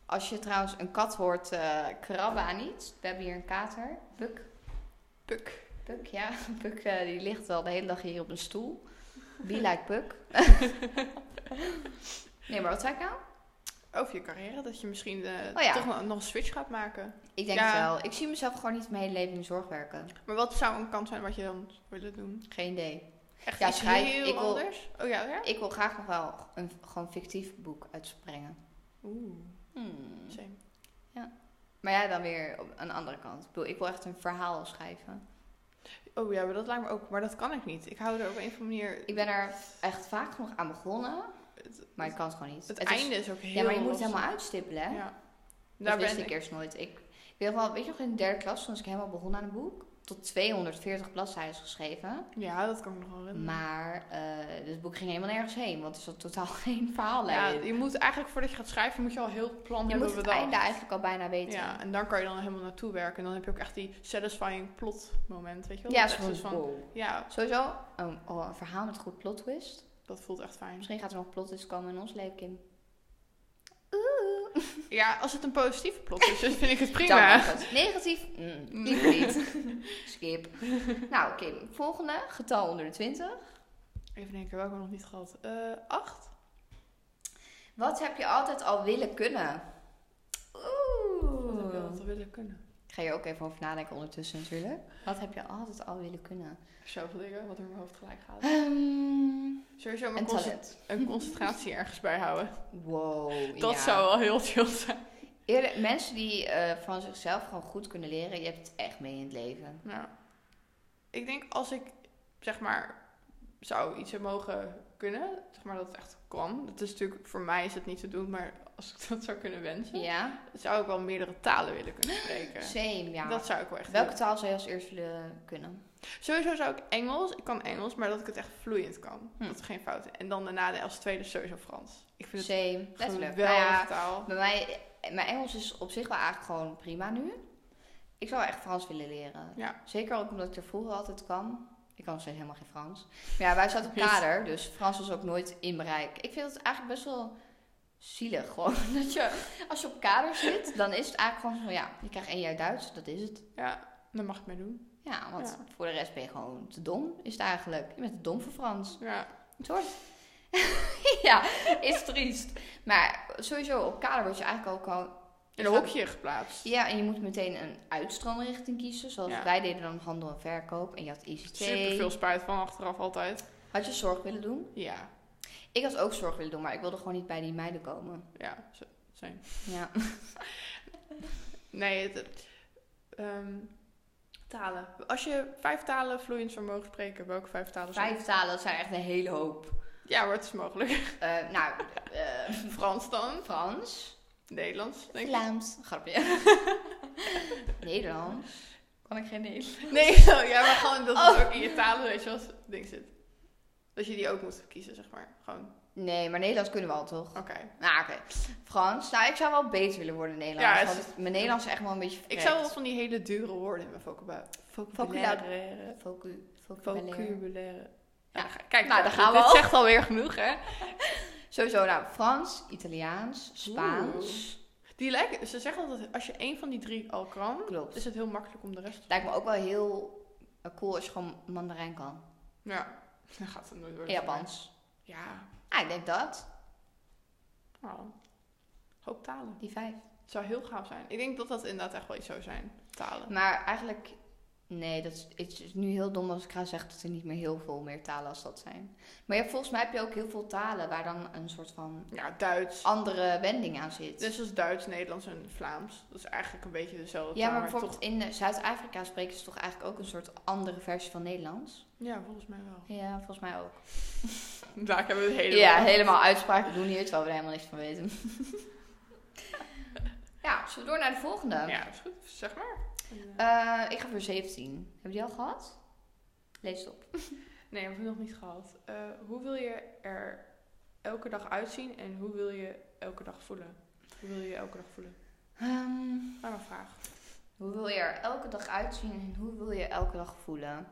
Speaker 1: Als je trouwens een kat hoort eh, krabben aan iets. We hebben hier een kater. Buk.
Speaker 2: Puk.
Speaker 1: Puk, ja. Puk eh, die ligt al de hele dag hier op een stoel. Be like Puk. nee, maar wat zei ik nou?
Speaker 2: Over je carrière, dat je misschien eh,
Speaker 1: Oh ja.
Speaker 2: toch nog- nog een switch gaat maken.
Speaker 1: Ik denk
Speaker 2: Ja.
Speaker 1: het wel. Ik zie mezelf gewoon niet mijn hele leven in de zorg werken.
Speaker 2: Maar wat zou een kant zijn wat je dan willen doen?
Speaker 1: Geen idee.
Speaker 2: Echt
Speaker 1: Ja,
Speaker 2: iets
Speaker 1: schrijf-
Speaker 2: heel
Speaker 1: ik wil-
Speaker 2: anders? Oh ja, ja?
Speaker 1: Ik wil graag nog wel een gewoon fictief boek uitsprengen.
Speaker 2: Oeh, same.
Speaker 1: Maar ja, dan weer op een andere kant. Ik bedoel, Ik wil echt een verhaal schrijven.
Speaker 2: Oh ja, maar dat lijkt me ook. Maar dat kan ik niet. Ik hou er op een of andere manier...
Speaker 1: Ik ben er echt vaak genoeg aan begonnen,
Speaker 2: Het,
Speaker 1: maar ik kan het gewoon niet.
Speaker 2: het
Speaker 1: is-
Speaker 2: einde is, ook heel
Speaker 1: ja, maar je moet het
Speaker 2: lastig.
Speaker 1: helemaal uitstippelen, hè?
Speaker 2: Ja.
Speaker 1: Dat
Speaker 2: Daar
Speaker 1: wist
Speaker 2: ben
Speaker 1: ik
Speaker 2: ik.
Speaker 1: eerst nooit. Ik, ik weet, nog wel, weet je nog, in de derde klas, toen was ik helemaal begon aan een boek, tot 240 bladzijden geschreven.
Speaker 2: Ja, dat kan ik nog wel herinneren.
Speaker 1: Maar eh het boek ging helemaal nergens heen, want er zat totaal geen verhaallijn.
Speaker 2: ja, je moet eigenlijk voordat je gaat schrijven, moet je al heel het plan
Speaker 1: je
Speaker 2: hebben
Speaker 1: moet het
Speaker 2: bedacht.
Speaker 1: einde eigenlijk al bijna weten.
Speaker 2: Ja, en dan kan je dan helemaal naartoe werken. En dan heb je ook echt die satisfying plot moment, weet je wel?
Speaker 1: Ja,
Speaker 2: Dat
Speaker 1: zo
Speaker 2: echt is
Speaker 1: van, wow.
Speaker 2: ja,
Speaker 1: Sowieso een, oh, een verhaal met goed plot twist.
Speaker 2: dat voelt echt fijn.
Speaker 1: Misschien gaat er nog plot twist komen in ons leven, Kim.
Speaker 2: Ja, als het een positieve plot is, dan vind ik het
Speaker 1: Dan
Speaker 2: prima.
Speaker 1: mag het. Negatief? Mm, liever niet. Skip. Nou, Kim, volgende. Getal onder de 20.
Speaker 2: Even denken, welke hebben we nog niet gehad? Eh, acht?
Speaker 1: Wat heb je altijd al willen kunnen?
Speaker 2: Wat heb je
Speaker 1: Oeh.
Speaker 2: altijd willen kunnen?
Speaker 1: Ik ga hier ook even over nadenken ondertussen natuurlijk. Wat heb je altijd al willen kunnen?
Speaker 2: Zoveel dingen, wat door mijn hoofd gelijk gaat.
Speaker 1: Ehm,
Speaker 2: Sowieso mijn
Speaker 1: een
Speaker 2: conce-
Speaker 1: talent.
Speaker 2: een concentratie ergens bijhouden.
Speaker 1: Wow.
Speaker 2: Dat
Speaker 1: ja.
Speaker 2: zou wel heel chill zijn.
Speaker 1: Eerlijk, mensen die eh, van zichzelf gewoon goed kunnen leren, je hebt het echt mee in het leven.
Speaker 2: Nou, ik denk als ik, zeg maar, zou iets hebben mogen kunnen, zeg maar dat het echt kan. Dat is natuurlijk, voor mij is het niet te doen, maar als ik dat zou kunnen wensen.
Speaker 1: Ja,
Speaker 2: zou ik wel meerdere talen willen kunnen spreken.
Speaker 1: same, ja.
Speaker 2: Dat zou ik wel echt
Speaker 1: Welke
Speaker 2: willen.
Speaker 1: taal zou je als eerst willen kunnen?
Speaker 2: Sowieso zou ik Engels, ik kan Engels, maar dat ik het echt vloeiend kan.
Speaker 1: Hm.
Speaker 2: Dat is geen fout. En dan daarna de- als tweede sowieso Frans. Ik vind het
Speaker 1: Same,
Speaker 2: een
Speaker 1: letterlijk.
Speaker 2: geweldige
Speaker 1: Nou ja,
Speaker 2: taal.
Speaker 1: bij mij, mijn Engels is op zich wel eigenlijk gewoon prima nu. Ik zou echt Frans willen leren.
Speaker 2: Ja.
Speaker 1: Zeker ook omdat ik er vroeger altijd kwam. Ik kan nog steeds helemaal geen Frans. Maar ja, wij zaten op kader, dus Frans was ook nooit in bereik. Ik vind het eigenlijk best wel zielig gewoon. Dat je, als je op kader zit, dan is het eigenlijk gewoon van ja, je krijgt één jaar Duits, dat is het.
Speaker 2: Ja, dat mag ik mee doen.
Speaker 1: Ja, want
Speaker 2: Ja.
Speaker 1: voor de rest ben je gewoon te dom, is het eigenlijk. Je bent te dom voor Frans.
Speaker 2: Ja,
Speaker 1: Het hoort. ja, is triest. Maar sowieso, op kader word je eigenlijk ook al
Speaker 2: in een
Speaker 1: Ja.
Speaker 2: hokje geplaatst.
Speaker 1: ja, en je moet meteen een uitstroomrichting kiezen. Zoals
Speaker 2: Ja.
Speaker 1: wij deden dan handel en verkoop. En je had ICT.
Speaker 2: Super veel spijt van achteraf altijd.
Speaker 1: Had je zorg willen doen?
Speaker 2: Ja,
Speaker 1: Ik had ook zorg willen doen, maar ik wilde gewoon niet bij die meiden komen.
Speaker 2: ja, zo- zijn.
Speaker 1: Ja.
Speaker 2: Nee, het, het- ehm, talen. Als je vijf talen vloeiend zou mogen spreken, welke vijf talen zou-
Speaker 1: Vijf talen, dat zijn echt een hele hoop.
Speaker 2: Ja, maar het is mogelijk.
Speaker 1: Eh, nou, eh,
Speaker 2: Frans dan,
Speaker 1: Frans.
Speaker 2: Nederlands, denk ik.
Speaker 1: Vlaams. Grapje. Nederlands. Kan ik geen Nederlands?
Speaker 2: Nee, oh, ja, maar gewoon dat het
Speaker 1: Oh.
Speaker 2: ook in je talen, weet je wel, als ding zit. Dat je die ook moet kiezen, zeg maar. Gewoon,
Speaker 1: Nee, maar Nederlands kunnen we al toch?
Speaker 2: oké.
Speaker 1: Nou, oké. Frans. Nou, ik zou wel beter willen worden in Nederlands.
Speaker 2: Ja, het
Speaker 1: want mijn Nederlands is echt wel een beetje
Speaker 2: Ik zou wel
Speaker 1: verkrekt.
Speaker 2: van die hele dure woorden in mijn vocabulaire...
Speaker 1: Vocabulaire. Vocu- vocabulaire.
Speaker 2: Vocabulaire.
Speaker 1: Ja.
Speaker 2: Ja, ga- kijk,
Speaker 1: Nou, daar
Speaker 2: nou, dat
Speaker 1: gaan
Speaker 2: gaan
Speaker 1: we
Speaker 2: we Dit
Speaker 1: al.
Speaker 2: zegt alweer genoeg, hè.
Speaker 1: Sowieso, nou, Frans, Italiaans, Spaans.
Speaker 2: Die lijken, ze zeggen altijd, als je één van die drie al kan,
Speaker 1: Klopt.
Speaker 2: is het heel makkelijk om de rest...
Speaker 1: Dus Lijkt me ook wel heel eh, cool als je gewoon Mandarijn kan.
Speaker 2: Ja, dan gaat het nooit
Speaker 1: En
Speaker 2: worden.
Speaker 1: Japans.
Speaker 2: Ja,
Speaker 1: Ah, ik denk dat.
Speaker 2: nou, hoop talen.
Speaker 1: Die vijf.
Speaker 2: Het zou heel gaaf zijn. Ik denk dat dat inderdaad echt wel iets zou zijn, talen.
Speaker 1: Maar eigenlijk Nee, dat is, het is nu heel dom als ik ga zeggen dat er niet meer heel veel meer talen als dat zijn. Maar je hebt- volgens mij heb je ook heel veel talen waar dan een soort van
Speaker 2: Ja, Duits.
Speaker 1: andere wending aan zit.
Speaker 2: Dus als Duits, Nederlands en Vlaams. Dat is eigenlijk een beetje dezelfde
Speaker 1: ja,
Speaker 2: taal,
Speaker 1: maar
Speaker 2: toch-
Speaker 1: bijvoorbeeld in eh, Zuid-Afrika spreken ze toch eigenlijk ook een soort andere versie van Nederlands?
Speaker 2: Ja, volgens mij wel.
Speaker 1: Ja, volgens mij ook.
Speaker 2: Daar hebben we het helemaal.
Speaker 1: Ja, helemaal uitspraken doen hier, terwijl we er helemaal niks van weten. ja, zullen we door naar de volgende?
Speaker 2: Ja, is goed. Zeg maar.
Speaker 1: Eh, ik ga voor 17. Hebben die al gehad? Lees het op.
Speaker 2: Nee, we hebben het nog niet gehad. Eh, hoe wil je er elke dag uitzien en hoe wil je elke dag voelen? Hoe wil je je elke dag voelen?
Speaker 1: Ehm,
Speaker 2: Maar een vraag.
Speaker 1: hoe wil je er elke dag uitzien en hoe wil je elke dag voelen?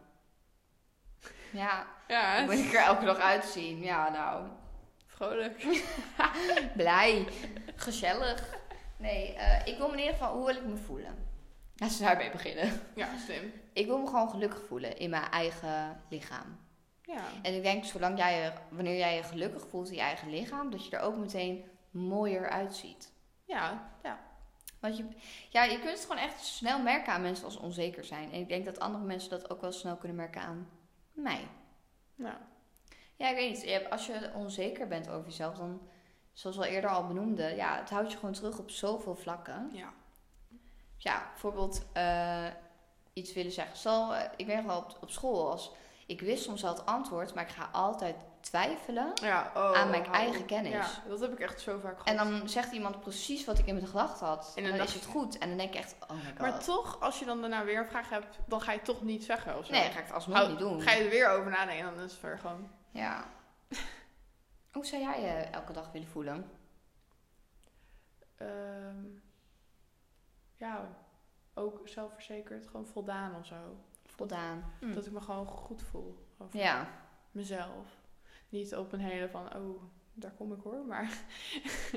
Speaker 1: Ja,
Speaker 2: Ja,
Speaker 1: hoe wil ik er elke dag uitzien? Ja, nou,
Speaker 2: vrolijk.
Speaker 1: blij, gezellig. Nee, eh, ik wil me in ieder geval, hoe wil ik me voelen? Laten we daarmee beginnen.
Speaker 2: Ja, slim.
Speaker 1: Ik wil me gewoon gelukkig voelen in mijn eigen lichaam.
Speaker 2: Ja.
Speaker 1: En ik denk, zolang jij je, wanneer jij je gelukkig voelt in je eigen lichaam, dat je er ook meteen mooier uitziet.
Speaker 2: Ja, ja.
Speaker 1: Want je, ja, je kunt het gewoon echt snel merken aan mensen als ze onzeker zijn. En ik denk dat andere mensen dat ook wel snel kunnen merken aan mij.
Speaker 2: Nou,
Speaker 1: Ja, ik weet niet. Je hebt- Als je onzeker bent over jezelf, dan, zoals we al eerder al benoemden, ja, het houdt je gewoon terug op zoveel vlakken.
Speaker 2: ja.
Speaker 1: Ja, bijvoorbeeld eh, iets willen zeggen. Stel, eh, ik ben wel op, op school als. Ik wist soms al het antwoord, maar ik ga altijd twijfelen
Speaker 2: ja oh,
Speaker 1: aan mijn
Speaker 2: hou
Speaker 1: eigen
Speaker 2: op.
Speaker 1: kennis.
Speaker 2: Ja, dat heb ik echt zo vaak gehad.
Speaker 1: En dan zegt iemand precies wat ik in mijn gedacht had.
Speaker 2: En
Speaker 1: En
Speaker 2: dan
Speaker 1: dan,
Speaker 2: dacht
Speaker 1: is het
Speaker 2: je-
Speaker 1: goed. En dan denk ik echt, oh my god.
Speaker 2: maar toch, als je dan daarna weer een vraag hebt, dan ga je het toch niet zeggen of zo.
Speaker 1: nee, dan ga ik het alsnog
Speaker 2: Hou-
Speaker 1: niet doen.
Speaker 2: Ga je er weer over nadenken en dan is het weer gewoon...
Speaker 1: Ja. Hoe zou jij je elke dag willen voelen?
Speaker 2: ehm, ja, ook zelfverzekerd, gewoon voldaan of zo.
Speaker 1: Voldaan. Hm.
Speaker 2: Dat ik me gewoon goed voel over
Speaker 1: Ja.
Speaker 2: mezelf. Niet op een hele van, oh, daar kom ik hoor. Maar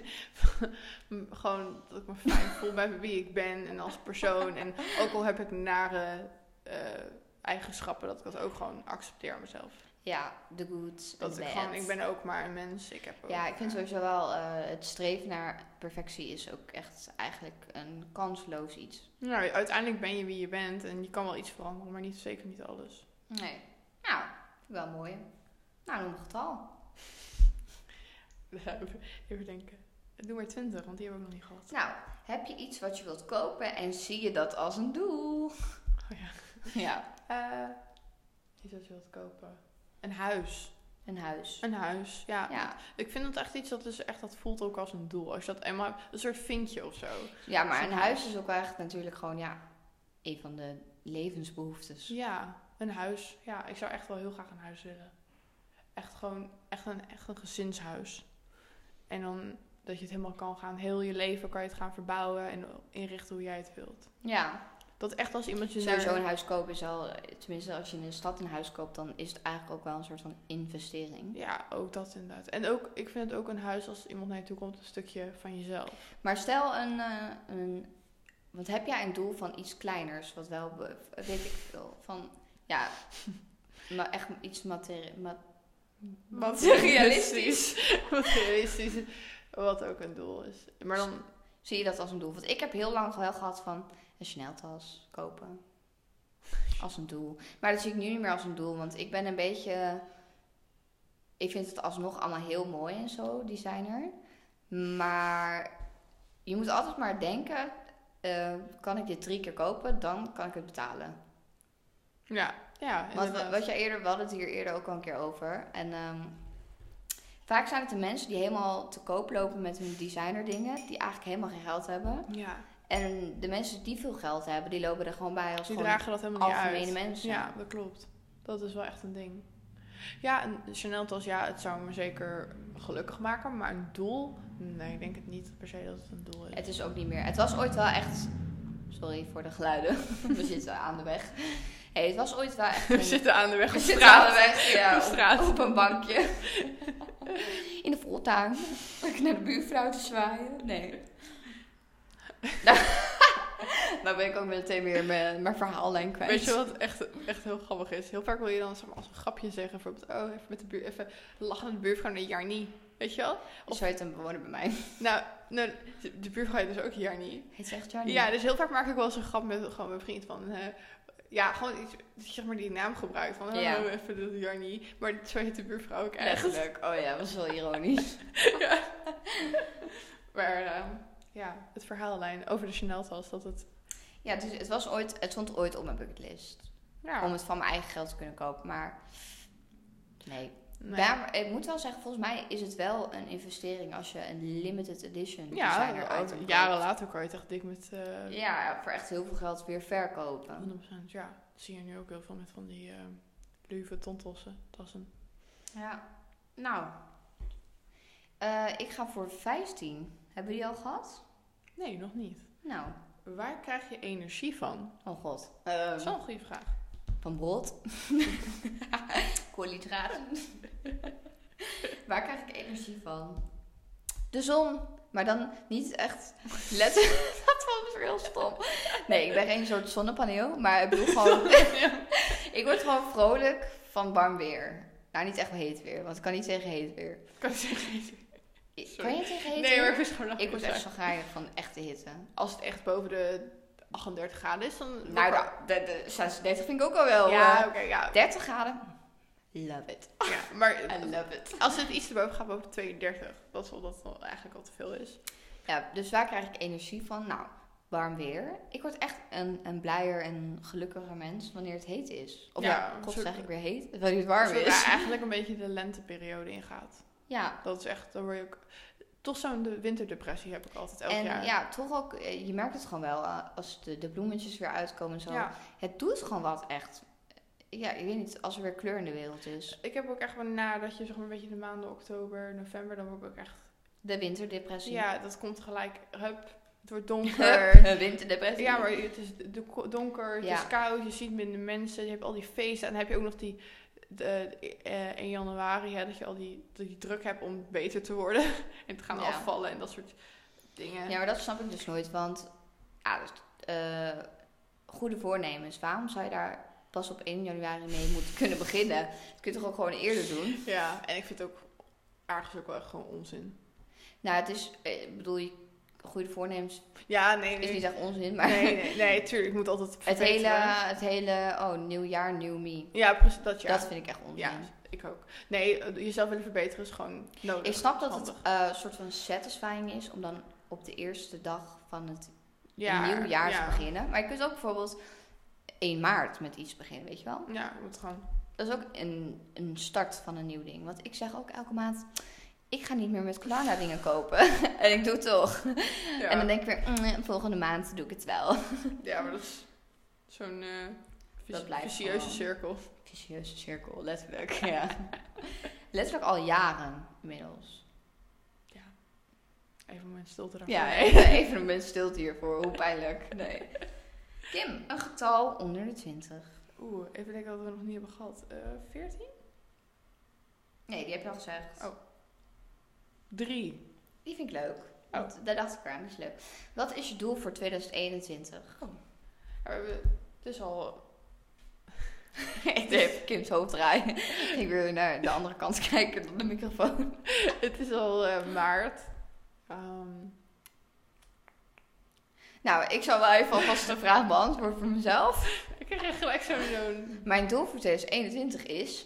Speaker 2: m- gewoon dat ik me fijn voel bij wie ik ben en als persoon. En ook al heb ik nare eh, eigenschappen, dat ik dat ook gewoon accepteer aan mezelf.
Speaker 1: Ja, de good,
Speaker 2: Dat
Speaker 1: de
Speaker 2: ik
Speaker 1: bad.
Speaker 2: gewoon, ik ben ook maar een mens. Ik heb ook-
Speaker 1: Ja, ik vind sowieso wel, eh, het streven naar perfectie is ook echt eigenlijk een kansloos iets.
Speaker 2: Nou, uiteindelijk ben je wie je bent en je kan wel iets veranderen, maar niet, zeker niet alles.
Speaker 1: Nee. Nou, vind ik wel mooi. Nou, noem een getal.
Speaker 2: Even denken. Doe maar 20, want die hebben we ook nog niet gehad.
Speaker 1: Nou, heb je iets wat je wilt kopen en zie je dat als een doel?
Speaker 2: Oh ja.
Speaker 1: Ja.
Speaker 2: Eh, iets wat je wilt kopen. Een huis.
Speaker 1: Een huis.
Speaker 2: Een huis, ja.
Speaker 1: Ja.
Speaker 2: Ik vind dat echt iets dat dus echt, dat voelt ook als een doel. Als je dat eenmaal hebt, een soort vinkje of zo.
Speaker 1: Ja, maar
Speaker 2: Zo'n
Speaker 1: een huis is ook echt natuurlijk gewoon, ja, een van de levensbehoeftes.
Speaker 2: Ja, een huis. Ja, ik zou echt wel heel graag een huis willen. Echt gewoon, echt een, echt een gezinshuis. En dan dat je het helemaal kan gaan, heel je leven kan je het gaan verbouwen en inrichten hoe jij het wilt.
Speaker 1: Ja,
Speaker 2: Dat echt als iemand je
Speaker 1: Dus sowieso
Speaker 2: daar-
Speaker 1: een huis kopen is al, tenminste als je in een stad een huis koopt, dan is het eigenlijk ook wel een soort van investering.
Speaker 2: Ja, ook dat inderdaad. En ook, ik vind het ook een huis als iemand naar je toe komt, een stukje van jezelf.
Speaker 1: Maar stel een, eh, een want heb jij een doel van iets kleiners, wat wel, be- weet ik veel, van, ja, maar echt iets materie, ma-
Speaker 2: Materialistisch. Wat ook een doel is. Maar dan,
Speaker 1: Zie je dat als een doel? Want ik heb heel lang wel gehad van een sneltas kopen. Als een doel. Maar dat zie ik nu niet meer als een doel. Want ik ben een beetje. Ik vind het alsnog allemaal heel mooi en zo, designer. Maar je moet altijd maar denken: eh, kan ik dit drie keer kopen? Dan kan ik het betalen.
Speaker 2: ja, ja.
Speaker 1: Want
Speaker 2: inderdaad.
Speaker 1: wa- wat jij eerder, we hadden het hier eerder ook al een keer over. En ehm, vaak zijn het de mensen die helemaal te koop lopen met hun designer dingen. Die eigenlijk helemaal geen geld hebben.
Speaker 2: ja,
Speaker 1: En de mensen die veel geld hebben, die lopen er gewoon bij als
Speaker 2: die
Speaker 1: gewoon
Speaker 2: dragen dat helemaal niet uit.
Speaker 1: algemene mensen.
Speaker 2: Ja, dat klopt. Dat is wel echt een ding. Ja, een Chanel tas, ja, het zou me zeker gelukkig maken. Maar een doel? Nee, ik denk het niet per se dat het een doel is.
Speaker 1: Het is ook niet meer. Het was ooit wel echt. Sorry voor de geluiden. We zitten aan de weg. Hey, het was ooit wel echt.
Speaker 2: We
Speaker 1: een-
Speaker 2: zitten aan de weg
Speaker 1: We
Speaker 2: op
Speaker 1: zitten aan de
Speaker 2: straat.
Speaker 1: weg. Ja,
Speaker 2: Op straat.
Speaker 1: Op, op een bankje. In de voortuin. Ik naar de buurvrouw te zwaaien. Nee. Nou, nou ben ik ook meteen weer mijn, mijn verhaallijn kwijt.
Speaker 2: Weet je wat echt, echt heel grappig is? Heel vaak wil je dan zeg maar, als een grapje zeggen, bijvoorbeeld, oh, even met de buur, even lachen met de buurvrouw, nee, Jarnie. Weet je wel?
Speaker 1: Of zo heet een bewoner bij mij.
Speaker 2: Nou, nou de buurvrouw heet dus ook Jarnie.
Speaker 1: Heet ze echt Johnny?
Speaker 2: Ja, dus heel vaak maak ik wel eens een grap met gewoon mijn vriend van, eh, Ja, gewoon iets, zeg maar die naam gebruikt. Van,
Speaker 1: Ja.
Speaker 2: oh, even de Jarnie. Maar zo heet de buurvrouw ook echt.
Speaker 1: Letterlijk. Oh ja, dat is wel ironisch.
Speaker 2: Maar eh, ja, het verhaallijn over de Chanel-tas, dat het...
Speaker 1: Ja, dus het, was ooit, het stond ooit op mijn bucketlist.
Speaker 2: Ja,
Speaker 1: Om het van mijn eigen geld te kunnen kopen. Maar nee.
Speaker 2: nee.
Speaker 1: Ja, maar ik moet wel zeggen, volgens mij is het wel een investering als je een limited edition
Speaker 2: ja
Speaker 1: designer
Speaker 2: al-
Speaker 1: item koopt.
Speaker 2: jaren later kan je het echt dik met... eh,
Speaker 1: Ja, voor echt heel veel geld weer verkopen.
Speaker 2: 100%, ja. Dat zie je nu ook heel veel met van die eh Louis Vuitton-tassen. Tassen.
Speaker 1: Ja. Nou. Eh, ik ga voor 15. Hebben jullie al gehad?
Speaker 2: Nee, nog niet.
Speaker 1: Nou.
Speaker 2: Waar krijg je energie van?
Speaker 1: Oh god.
Speaker 2: Dat is wel een goede vraag.
Speaker 1: Van brood. Koolhydraten. Waar krijg ik energie van? De zon. Maar dan niet echt letterlijk. Dat was heel stom. Nee, ik ben geen soort zonnepaneel. Maar ik bedoel gewoon... ik word gewoon vrolijk van warm weer. Nou, niet echt heet weer. Want ik kan niet tegen heet weer.
Speaker 2: Kan ik zeggen?
Speaker 1: Ik-
Speaker 2: Sorry.
Speaker 1: Kan je tegen heet
Speaker 2: Nee,
Speaker 1: weer?
Speaker 2: maar ik was gewoon
Speaker 1: Ik word echt
Speaker 2: echt...
Speaker 1: zo gaar van echte hitte.
Speaker 2: Als het echt boven de 38 graden is, dan...
Speaker 1: Nou, de, de, de 36 vind ik ook al wel.
Speaker 2: Ja,
Speaker 1: eh,
Speaker 2: oké, ja.
Speaker 1: 30 graden. Love it.
Speaker 2: ja. Maar
Speaker 1: I love it.
Speaker 2: als het iets te boven gaat, boven de 32. Dat is omdat het wel eigenlijk al te veel is.
Speaker 1: Ja, dus waar krijg ik energie van? Nou, warm weer. Ik word echt een, een blijer en gelukkiger mens wanneer het heet is. Of
Speaker 2: Ja,
Speaker 1: ja,
Speaker 2: een
Speaker 1: god
Speaker 2: soort-
Speaker 1: zeg ik weer heet, wanneer het warm
Speaker 2: Zodra
Speaker 1: is.
Speaker 2: eigenlijk een beetje de lenteperiode ingaat.
Speaker 1: Ja,
Speaker 2: Dat is echt, dan word je ook... Toch zo'n de- winterdepressie heb ik altijd elk
Speaker 1: en
Speaker 2: jaar.
Speaker 1: ja, toch ook, eh, je merkt het gewoon wel eh, als de, de bloemetjes weer uitkomen en zo.
Speaker 2: ja.
Speaker 1: Het doet gewoon wat echt. Ja, ik weet niet, als er weer kleur in de wereld is.
Speaker 2: Ik heb ook echt wel nadat je zeg maar een beetje de maanden oktober, november, dan word ik ook echt...
Speaker 1: De winterdepressie.
Speaker 2: Ja, dat komt gelijk, hup, het wordt donker.
Speaker 1: Hup, winterdepressie.
Speaker 2: ja, maar het is de- ko- donker, het
Speaker 1: Ja.
Speaker 2: is koud, je ziet minder mensen, je hebt al die feesten. En dan heb je ook nog die, de, eh, 1 januari, hè, dat je al die, dat je druk hebt om beter te worden. en te gaan
Speaker 1: Ja.
Speaker 2: afvallen en dat soort dingen.
Speaker 1: Ja, maar dat snap ik dus nooit, want ja, dus, eh, goede voornemens, waarom zou je daar pas op 1 januari mee moeten kunnen beginnen? Dat kun je toch ook gewoon eerder doen?
Speaker 2: Ja, en ik vind het ook ergens ook wel echt gewoon onzin.
Speaker 1: Nou, het is, eh, ik bedoel, je- goede voornemens
Speaker 2: Ja, nee,
Speaker 1: is
Speaker 2: nee.
Speaker 1: niet echt onzin, maar
Speaker 2: Nee, nee, nee, tuurlijk, ik moet altijd
Speaker 1: het, hele,
Speaker 2: verbeteren.
Speaker 1: het hele, oh, nieuw jaar, nieuw me,
Speaker 2: Ja, precies, dat ja.
Speaker 1: dat vind ik echt onzin.
Speaker 2: Ja, ik ook. Nee, eh, jezelf willen verbeteren is gewoon nodig.
Speaker 1: Ik snap dat het
Speaker 2: Handig.
Speaker 1: eh, een soort van satisfying is om dan op de eerste dag van het
Speaker 2: ja,
Speaker 1: nieuw jaar
Speaker 2: ja.
Speaker 1: te beginnen. Maar je kunt ook bijvoorbeeld 1 maart met iets beginnen, weet je wel?
Speaker 2: Ja, je moet gewoon.
Speaker 1: Dat is ook een, een start van een nieuw ding. Want ik zeg ook elke maand... Ik ga niet meer met Klarna dingen kopen. en ik doe het toch.
Speaker 2: Ja,
Speaker 1: En dan denk ik weer... "Mm, volgende maand doe ik het wel.
Speaker 2: ja maar dat is zo'n eh vic-
Speaker 1: Dat blijft
Speaker 2: vicieuze
Speaker 1: gewoon.
Speaker 2: cirkel.
Speaker 1: Vicieuze cirkel, letterlijk. Ja. letterlijk al jaren inmiddels.
Speaker 2: Even een moment stil te raken.
Speaker 1: Ja, even, even een moment stilte hiervoor. Hoe pijnlijk. Nee. Kim, een getal onder de 20.
Speaker 2: Oeh, even denken wat we nog niet hebben gehad. Eh 14?
Speaker 1: Nee, die heb je al gezegd.
Speaker 2: Oh. 3.
Speaker 1: Die vind ik leuk. Want Daar dacht ik aan, dat is leuk. Wat is je doel voor 2021?
Speaker 2: Ja, we hebben, het is al.
Speaker 1: Ik deed
Speaker 2: dus-
Speaker 1: even Kim's hoofd draaien. Ik wil naar de andere kant kijken dan de microfoon.
Speaker 2: Het is al eh, maart. Ehm,
Speaker 1: Nou, ik zal wel even alvast de vraag beantwoorden voor mezelf.
Speaker 2: ik krijg echt gelijk zo'n. zo'n-
Speaker 1: Mijn doel voor 2021 is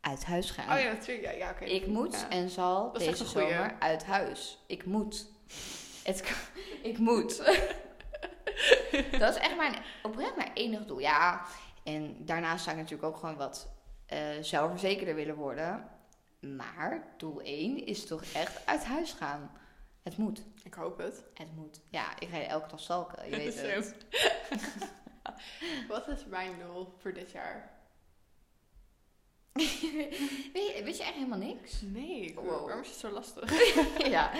Speaker 1: uit huis gaan.
Speaker 2: Oh ja, natuurlijk. Ja, ja, oké.
Speaker 1: Ik moet
Speaker 2: Ja.
Speaker 1: en zal
Speaker 2: Dat is echt
Speaker 1: deze
Speaker 2: een goeie.
Speaker 1: zomer uit huis. Ik moet. Het, kan- ik moet. Dat is echt mijn, oprecht mijn enig doel. Ja, en daarnaast zou ik natuurlijk ook gewoon wat eh, zelfverzekerder willen worden. Maar doel 1 is toch echt uit huis gaan. Het moet.
Speaker 2: Ik hoop het.
Speaker 1: Het moet. Ja, ik ga elke dag stalken. Je weet het.
Speaker 2: Wat is mijn doel voor dit jaar?
Speaker 1: weet, je, weet je echt helemaal niks?
Speaker 2: Nee, ik-
Speaker 1: Wow.
Speaker 2: waarom is het zo lastig?
Speaker 1: ja.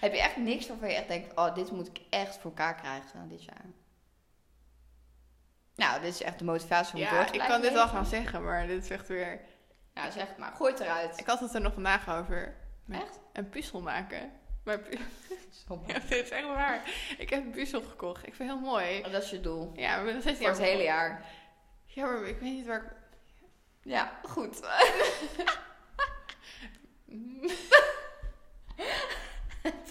Speaker 1: Heb je echt niks waarvan je echt denkt, oh, dit moet ik echt voor elkaar krijgen dit jaar? Nou, dit is echt de motivatie om door
Speaker 2: Ja,
Speaker 1: te
Speaker 2: ik
Speaker 1: blijven
Speaker 2: kan dit al
Speaker 1: leven.
Speaker 2: gaan zeggen, maar dit is echt weer...
Speaker 1: Nou, zeg het maar. Gooi het eruit.
Speaker 2: Ik had het er nog vandaag over. Met
Speaker 1: Echt?
Speaker 2: Een puzzel maken. Maar pu- ja, dit is echt waar. Ik heb een puzzel gekocht. Ik vind het heel mooi.
Speaker 1: Oh, dat is je doel.
Speaker 2: Ja, maar dat is
Speaker 1: Voor het hele jaar.
Speaker 2: Ja, maar ik weet niet waar ik...
Speaker 1: Ja, goed.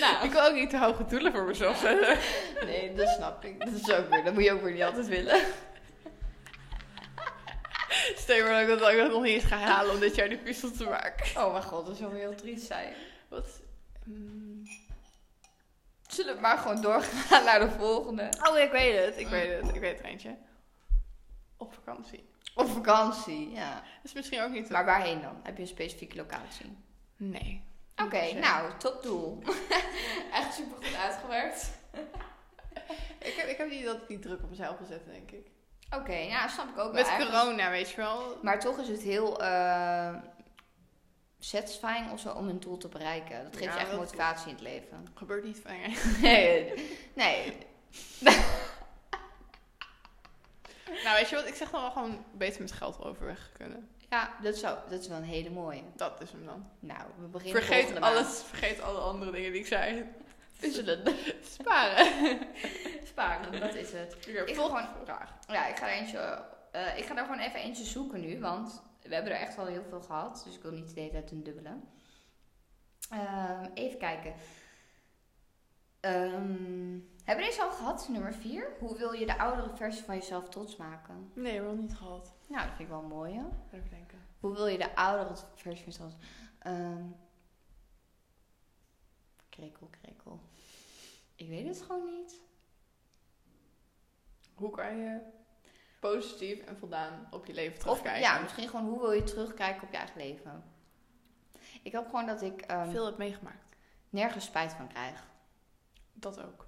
Speaker 1: Nou.
Speaker 2: Ik wil ook niet te hoge doelen voor mezelf zetten.
Speaker 1: Nee, dat snap ik. Dat is ook weer. Dat moet je ook weer niet altijd willen.
Speaker 2: Stel je voor dat ik dat ook nog niet eens ga halen om dit jaar die puzzel te maken.
Speaker 1: Oh mijn god, dat zou weer heel triest zijn.
Speaker 2: Wat? Mm.
Speaker 1: Zullen we maar gewoon doorgaan naar de volgende?
Speaker 2: Oh, ik weet het. Ik weet het. Ik weet het eentje. Op vakantie.
Speaker 1: Op vakantie, ja.
Speaker 2: Dat is misschien ook niet...
Speaker 1: Maar waarheen dan? Heb je een specifieke locatie?
Speaker 2: Nee.
Speaker 1: Oké,
Speaker 2: Niet per se.
Speaker 1: nou, topdoel. Echt super goed uitgewerkt.
Speaker 2: Ik heb, ik heb niet dat die druk op mezelf gezet, denk ik.
Speaker 1: Oké, nou, snap ik ook wel.
Speaker 2: Met
Speaker 1: ergens.
Speaker 2: corona, weet je wel.
Speaker 1: Maar toch is het heel eh, satisfying of zo om een doel te bereiken. Dat geeft
Speaker 2: Ja,
Speaker 1: je echt
Speaker 2: dat-
Speaker 1: motivatie in het leven.
Speaker 2: Gebeurt niet van je.
Speaker 1: Nee. nee.
Speaker 2: Nou, weet je wat? Ik zeg dan wel gewoon beter met geld overweg kunnen.
Speaker 1: Ja, dat, zou, dat is wel een hele mooie.
Speaker 2: Dat is hem dan.
Speaker 1: Nou, we beginnen
Speaker 2: Vergeet
Speaker 1: volgende maand.
Speaker 2: alles. Vergeet alle andere dingen die ik zei.
Speaker 1: Puzzelen.
Speaker 2: Sparen.
Speaker 1: Sparen, dat is het.
Speaker 2: Ik heb
Speaker 1: Ik
Speaker 2: volgende
Speaker 1: gewoon-
Speaker 2: vraag.
Speaker 1: Ja, ik ga er eentje... eh, ik ga er gewoon even eentje zoeken nu, want we hebben er echt al heel veel gehad. Dus ik wil niet de hele tijd een dubbele. Ehm, even kijken. Ehm, hebben we deze al gehad, nummer 4? Hoe wil je de oudere versie van jezelf trots maken?
Speaker 2: Nee, we hebben nog niet gehad.
Speaker 1: Nou, dat vind ik wel mooi, hè?
Speaker 2: Even denken.
Speaker 1: Hoe wil je de oudere versie van jezelf... Ehm krekel, krekel. Ik weet het gewoon niet.
Speaker 2: Hoe kan je positief en voldaan op je leven
Speaker 1: Of
Speaker 2: terugkijken?
Speaker 1: ja, misschien gewoon hoe wil je terugkijken op je eigen leven? Ik hoop gewoon dat ik ehm,
Speaker 2: Veel heb meegemaakt.
Speaker 1: nergens spijt van krijg.
Speaker 2: Dat ook.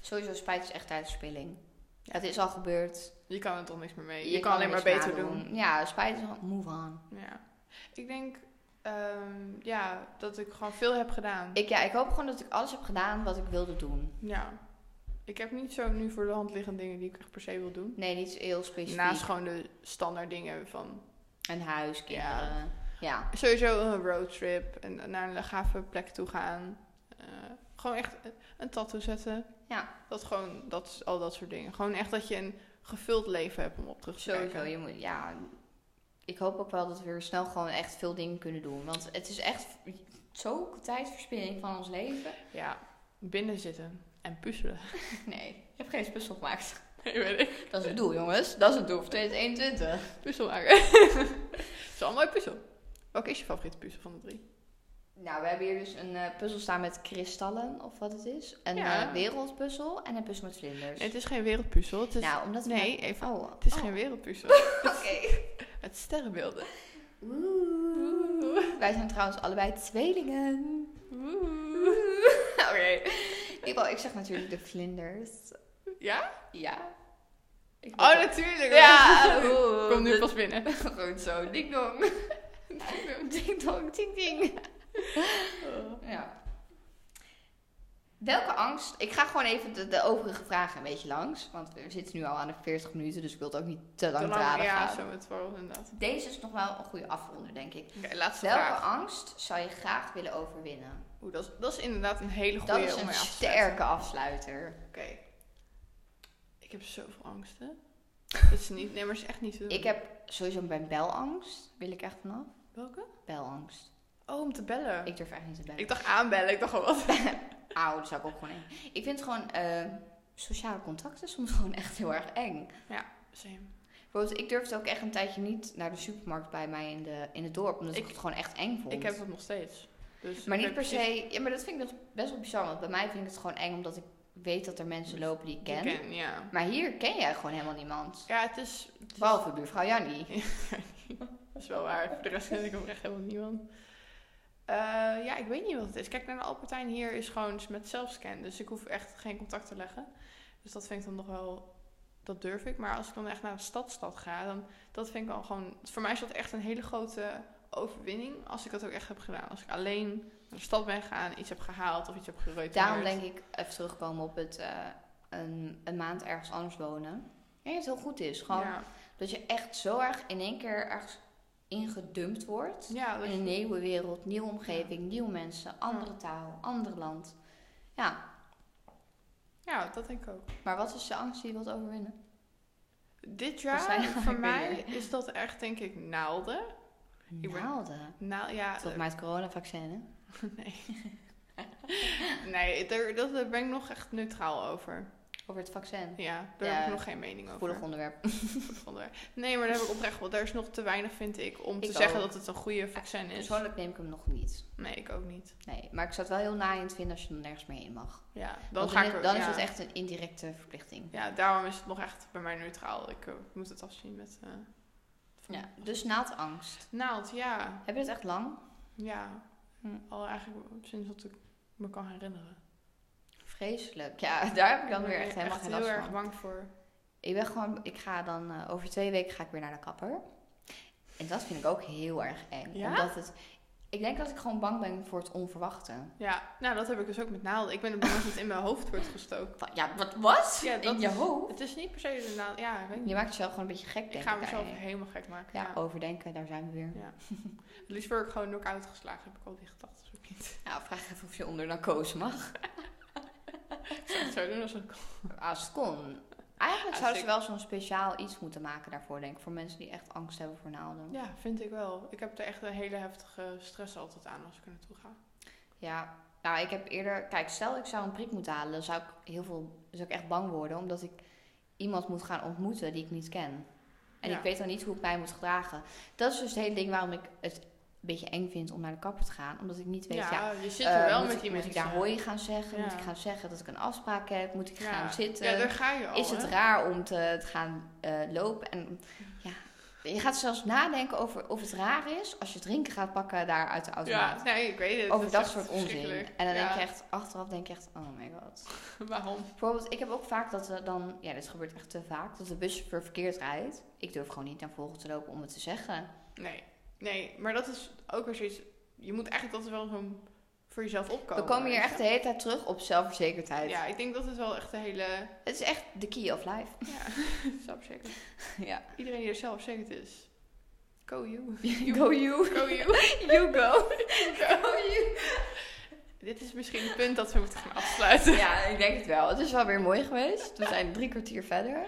Speaker 1: Sowieso spijt is echt tijdverspilling. Het is al gebeurd.
Speaker 2: Je kan er toch niks meer mee. Je,
Speaker 1: er
Speaker 2: kan alleen maar
Speaker 1: niks
Speaker 2: beter
Speaker 1: aan
Speaker 2: doen.
Speaker 1: Ja, spijt is al- move on.
Speaker 2: Ja. Ik denk ehm, ja, dat ik gewoon veel heb gedaan.
Speaker 1: Ik, ja, ik hoop gewoon dat ik alles heb gedaan wat ik wilde doen.
Speaker 2: Ja. Ik heb niet zo nu voor de hand liggende dingen die ik echt per se wil doen.
Speaker 1: Nee, niet heel specifiek.
Speaker 2: Naast gewoon de standaard dingen van
Speaker 1: Een huis, kinderen. Ja.
Speaker 2: sowieso een roadtrip en naar een gave plek toe gaan. Eh, gewoon echt een tattoo zetten.
Speaker 1: Ja.
Speaker 2: Dat gewoon, dat, is- al dat soort dingen. Gewoon echt dat je een gevuld leven hebt om op terug te
Speaker 1: Sowieso,
Speaker 2: kijken.
Speaker 1: je moet, ja. Ik hoop ook wel dat we weer snel gewoon echt veel dingen kunnen doen. Want het is echt zo'n tijdverspilling van ons leven.
Speaker 2: Ja, binnen zitten en puzzelen.
Speaker 1: Nee, ik heb geen puzzel gemaakt.
Speaker 2: Nee, weet ik.
Speaker 1: Dat is het doel, jongens. Dat is het doel voor 2021.
Speaker 2: Puzzel maken. Het is wel een mooie puzzel. Welke is je favoriete puzzel van de drie?
Speaker 1: Nou, we hebben hier dus een eh, puzzel staan met kristallen, of wat het is. Een
Speaker 2: Ja.
Speaker 1: eh, wereldpuzzel en een puzzel met vlinders.
Speaker 2: Nee, het is geen wereldpuzzel. Het is,
Speaker 1: nou, omdat we-
Speaker 2: nee, even.
Speaker 1: Oh,
Speaker 2: Het is
Speaker 1: oh,
Speaker 2: geen wereldpuzzel.
Speaker 1: Oké.
Speaker 2: Het is sterrenbeelden.
Speaker 1: Oeh. Wij zijn trouwens allebei tweelingen. Oké. In ieder geval, ik zeg natuurlijk de vlinders.
Speaker 2: Ja?
Speaker 1: Ja. Ik
Speaker 2: Oh, natuurlijk.
Speaker 1: Ja, oeh.
Speaker 2: Kom nu
Speaker 1: Dat- Oh.
Speaker 2: pas binnen.
Speaker 1: Goed zo, ding dong. ding dong, ding ding. Ja. Welke angst... Ik ga gewoon even de, de overige vragen een beetje langs. Want we zitten nu al aan de 40 minuten, dus ik wil het ook niet te lang draden
Speaker 2: ja,
Speaker 1: gaan.
Speaker 2: zo met twaalf inderdaad.
Speaker 1: Deze is nog wel een goede afronder, denk ik.
Speaker 2: Oké, laatste
Speaker 1: Welke
Speaker 2: vraag.
Speaker 1: angst zou je graag willen overwinnen?
Speaker 2: Oeh, dat, is, dat is inderdaad een hele goede
Speaker 1: Dat is een sterke afsluiter.
Speaker 2: Oké. Ik heb zoveel angsten. Het is niet, nee, maar het is echt niet te doen.
Speaker 1: Ik heb sowieso bij belangst, wil ik echt vanaf.
Speaker 2: Welke?
Speaker 1: Belangst.
Speaker 2: Oh, om te bellen. Ik,
Speaker 1: Ik durf echt niet te bellen.
Speaker 2: dacht aanbellen. Ik dacht gewoon wat.
Speaker 1: Auw, dat zou ik ook gewoon eng. Ik vind gewoon eh, sociale contacten soms gewoon echt heel erg eng.
Speaker 2: Same.
Speaker 1: Bijvoorbeeld, ik durfde ook echt een tijdje niet naar de supermarkt bij mij in, de, in het dorp, omdat ik,
Speaker 2: Ik-
Speaker 1: het gewoon echt eng vond.
Speaker 2: Ik heb dat nog steeds. Dus
Speaker 1: maar
Speaker 2: ik
Speaker 1: niet
Speaker 2: weet
Speaker 1: per
Speaker 2: precies
Speaker 1: se, ja, maar dat vind ik dus best wel bizar, want bij mij vind ik het gewoon eng omdat ik weet dat er mensen lopen die ik
Speaker 2: wie
Speaker 1: ken.
Speaker 2: ik ken, ja.
Speaker 1: Maar hier ken jij gewoon helemaal niemand.
Speaker 2: Ja, het is, het is,
Speaker 1: Behalve buurvrouw Jannie.
Speaker 2: dat is wel waar. Voor de rest ken ik hem echt helemaal niemand. Eh, ja, ik weet niet wat het is. Kijk, naar de Albertijn hier is gewoon met zelfscan. Dus ik hoef echt geen contact te leggen. Dus dat vind ik dan nog wel... Dat durf ik. Maar als ik dan echt naar de stadstad ga, dan... Dat vind ik al gewoon... Voor mij is dat echt een hele grote overwinning. Als ik dat ook echt heb gedaan. Als ik alleen naar de stad ben gegaan, iets heb gehaald of iets heb gereuteerd.
Speaker 1: Daarom denk ik even terugkomen op het eh, een, een maand ergens anders wonen. Ja, dat het heel goed is. Gewoon
Speaker 2: Ja,
Speaker 1: dat je echt zo erg in één keer ergens ingedumpt wordt.
Speaker 2: ja dat
Speaker 1: In
Speaker 2: je-
Speaker 1: een nieuwe wereld, nieuwe omgeving, nieuwe mensen, andere taal, ander land. Ja,
Speaker 2: ja, dat denk ik ook.
Speaker 1: maar wat is de angst die je wilt overwinnen?
Speaker 2: Dit
Speaker 1: Wat zijn
Speaker 2: jaar
Speaker 1: dat?
Speaker 2: voor
Speaker 1: Ik weet
Speaker 2: mij
Speaker 1: niet.
Speaker 2: is dat echt denk ik naalden. ben-
Speaker 1: Naalden.
Speaker 2: Naal, ja,
Speaker 1: Tot mij het coronavaccin, hè?
Speaker 2: eh, nee. nee, daar, dat, daar ben ik nog echt neutraal over.
Speaker 1: Over het vaccin.
Speaker 2: Ja, daar
Speaker 1: Ja,
Speaker 2: heb ik nog geen mening over.
Speaker 1: Gevoelig onderwerp.
Speaker 2: Gevoelig onderwerp. Nee, maar daar heb ik oprecht wel. Daar is nog te weinig, vind ik, om te
Speaker 1: Ik
Speaker 2: zeggen
Speaker 1: ook.
Speaker 2: dat het een goede vaccin is.
Speaker 1: Persoonlijk neem ik hem nog niet.
Speaker 2: Nee, ik ook niet.
Speaker 1: Nee, maar ik zou het wel heel naaiend vinden als je er nergens meer heen mag.
Speaker 2: Ja, dan
Speaker 1: Want
Speaker 2: ga
Speaker 1: is-
Speaker 2: ik er-
Speaker 1: dan
Speaker 2: ja.
Speaker 1: is het echt een indirecte verplichting.
Speaker 2: Ja, daarom is het nog echt bij mij neutraal. Ik eh, moet het afzien met... eh, van-
Speaker 1: Ja. Dus naaldangst.
Speaker 2: Naald, ja.
Speaker 1: Heb je het echt lang?
Speaker 2: Ja.
Speaker 1: Hm.
Speaker 2: Al eigenlijk sinds dat ik me kan herinneren.
Speaker 1: Vreselijk. Ja, daar heb ik dan weer
Speaker 2: ben
Speaker 1: echt
Speaker 2: ik
Speaker 1: helemaal
Speaker 2: echt
Speaker 1: geen last
Speaker 2: heel
Speaker 1: van.
Speaker 2: erg bang voor.
Speaker 1: Ik ben gewoon, ik ga dan, eh, over twee weken ga ik weer naar de kapper. En dat vind ik ook heel erg eng.
Speaker 2: Ja?
Speaker 1: Omdat het, ik denk dat ik gewoon bang ben voor het onverwachte.
Speaker 2: Ja, nou dat heb ik dus ook met naalden. Ik ben bang dat het in mijn hoofd wordt gestoken.
Speaker 1: Van, Ja, wat was?
Speaker 2: Ja, dat
Speaker 1: In je
Speaker 2: is-
Speaker 1: hoofd?
Speaker 2: Het is niet per se de naald. Ja, ik weet
Speaker 1: Je
Speaker 2: niet.
Speaker 1: maakt jezelf gewoon een beetje gek, denk
Speaker 2: Ik
Speaker 1: ik.
Speaker 2: ga mezelf
Speaker 1: daarin.
Speaker 2: helemaal gek maken.
Speaker 1: Ja,
Speaker 2: Ja.
Speaker 1: overdenken, daar zijn we weer.
Speaker 2: Het liefst word ik gewoon knock-out geslagen. Heb ik al die gedachten ook niet.
Speaker 1: Nou, vraag even of je onder narcose mag.
Speaker 2: Ik zou het zo doen als ik...
Speaker 1: Als het kon. Eigenlijk
Speaker 2: Als
Speaker 1: zouden ze
Speaker 2: ik-
Speaker 1: wel zo'n speciaal iets moeten maken daarvoor, denk ik. Voor mensen die echt angst hebben voor naalden.
Speaker 2: Ja, vind ik wel. Ik heb er echt een hele heftige stress altijd aan als ik er naartoe ga.
Speaker 1: Ja, nou, ik heb eerder. Kijk, stel ik zou een prik moeten halen, dan zou ik heel veel. zou ik echt bang worden, omdat ik iemand moet gaan ontmoeten die ik niet ken. En
Speaker 2: Ja.
Speaker 1: ik weet dan niet hoe ik mij moet gedragen. Dat is dus het hele ding waarom ik het een beetje eng vind om naar de kapper te gaan, omdat ik niet weet. Ja,
Speaker 2: je zit
Speaker 1: eh,
Speaker 2: er wel
Speaker 1: moet
Speaker 2: met
Speaker 1: ik,
Speaker 2: die
Speaker 1: Moet
Speaker 2: mensen.
Speaker 1: ik daar hooi gaan zeggen? Moet
Speaker 2: Ja.
Speaker 1: ik gaan zeggen dat ik een afspraak heb? Moet ik
Speaker 2: Ja.
Speaker 1: gaan zitten?
Speaker 2: Ja, daar ga je al.
Speaker 1: is het
Speaker 2: hè?
Speaker 1: raar om te, te gaan eh, lopen? En ja, je gaat zelfs nadenken over of het raar is als je drinken gaat pakken daar uit de automaat
Speaker 2: Ja, nee, ik weet het.
Speaker 1: over
Speaker 2: is
Speaker 1: dat
Speaker 2: echt
Speaker 1: soort onzin.
Speaker 2: verschrikkelijk.
Speaker 1: En dan
Speaker 2: Ja.
Speaker 1: denk je echt, achteraf denk je echt, oh my god.
Speaker 2: Waarom?
Speaker 1: Bijvoorbeeld, ik heb ook vaak dat we dan, ja dit gebeurt echt te vaak, dat de buschauffeur verkeerd rijdt. Ik durf gewoon niet naar voren te lopen om het te zeggen.
Speaker 2: Nee, nee, maar dat is ook weer zoiets. Je moet eigenlijk altijd wel zo'n voor jezelf opkomen.
Speaker 1: we komen hier
Speaker 2: weet
Speaker 1: echt
Speaker 2: je?
Speaker 1: de hele tijd terug op zelfverzekerdheid.
Speaker 2: Ja, ik denk dat het wel echt een hele.
Speaker 1: Het is echt de key of life.
Speaker 2: Ja, zelfzeker.
Speaker 1: ja.
Speaker 2: Iedereen die er zelfzeker is. Go you.
Speaker 1: Go you.
Speaker 2: Go you.
Speaker 1: You go.
Speaker 2: Go.
Speaker 1: Go you.
Speaker 2: Dit is misschien het punt dat we moeten gaan afsluiten.
Speaker 1: Ja, ik denk het wel. Het is wel weer mooi geweest. We zijn drie kwartier verder.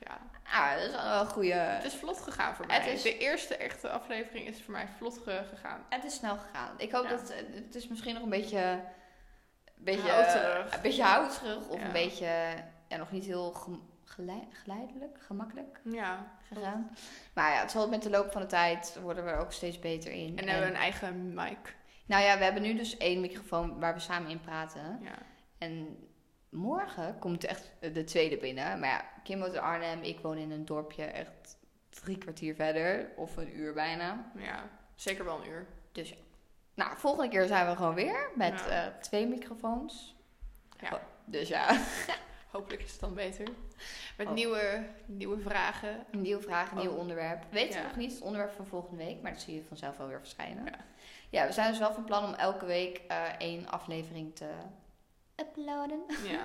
Speaker 2: Ja.
Speaker 1: Ah, dat is wel een goede...
Speaker 2: Het is vlot gegaan voor mij.
Speaker 1: Het is-
Speaker 2: De eerste echte aflevering is voor mij vlot ge- gegaan.
Speaker 1: Het is snel gegaan. Ik hoop
Speaker 2: Ja.
Speaker 1: dat het is misschien nog een beetje, beetje eh,
Speaker 2: Houterig.
Speaker 1: Een beetje houterig of
Speaker 2: Ja.
Speaker 1: een beetje ja, nog niet heel gem- gelei- geleidelijk, gemakkelijk
Speaker 2: Ja.
Speaker 1: gegaan. Maar ja, het zal met de loop van de tijd worden we er ook steeds beter in.
Speaker 2: En hebben we een eigen mic.
Speaker 1: nou ja, we hebben nu dus één microfoon waar we samen in praten.
Speaker 2: Ja.
Speaker 1: En morgen komt echt de tweede binnen. Maar ja, Kim woont in Arnhem, ik woon in een dorpje echt drie kwartier verder of een uur bijna.
Speaker 2: ja. Zeker wel een uur.
Speaker 1: Nou, volgende keer zijn we gewoon weer met
Speaker 2: Ja.
Speaker 1: eh, twee microfoons.
Speaker 2: Ja.
Speaker 1: Oh, dus ja,
Speaker 2: Hopelijk is het dan beter. Met
Speaker 1: Oh.
Speaker 2: nieuwe, nieuwe vragen.
Speaker 1: een nieuwe vraag, een nieuw onderwerp. We weten
Speaker 2: Oh. Ja.
Speaker 1: nog niet het onderwerp van volgende week, maar dat zie je vanzelf wel weer verschijnen.
Speaker 2: Ja.
Speaker 1: Ja, we zijn dus wel van plan om elke week eh, één aflevering te uploaden
Speaker 2: Ja.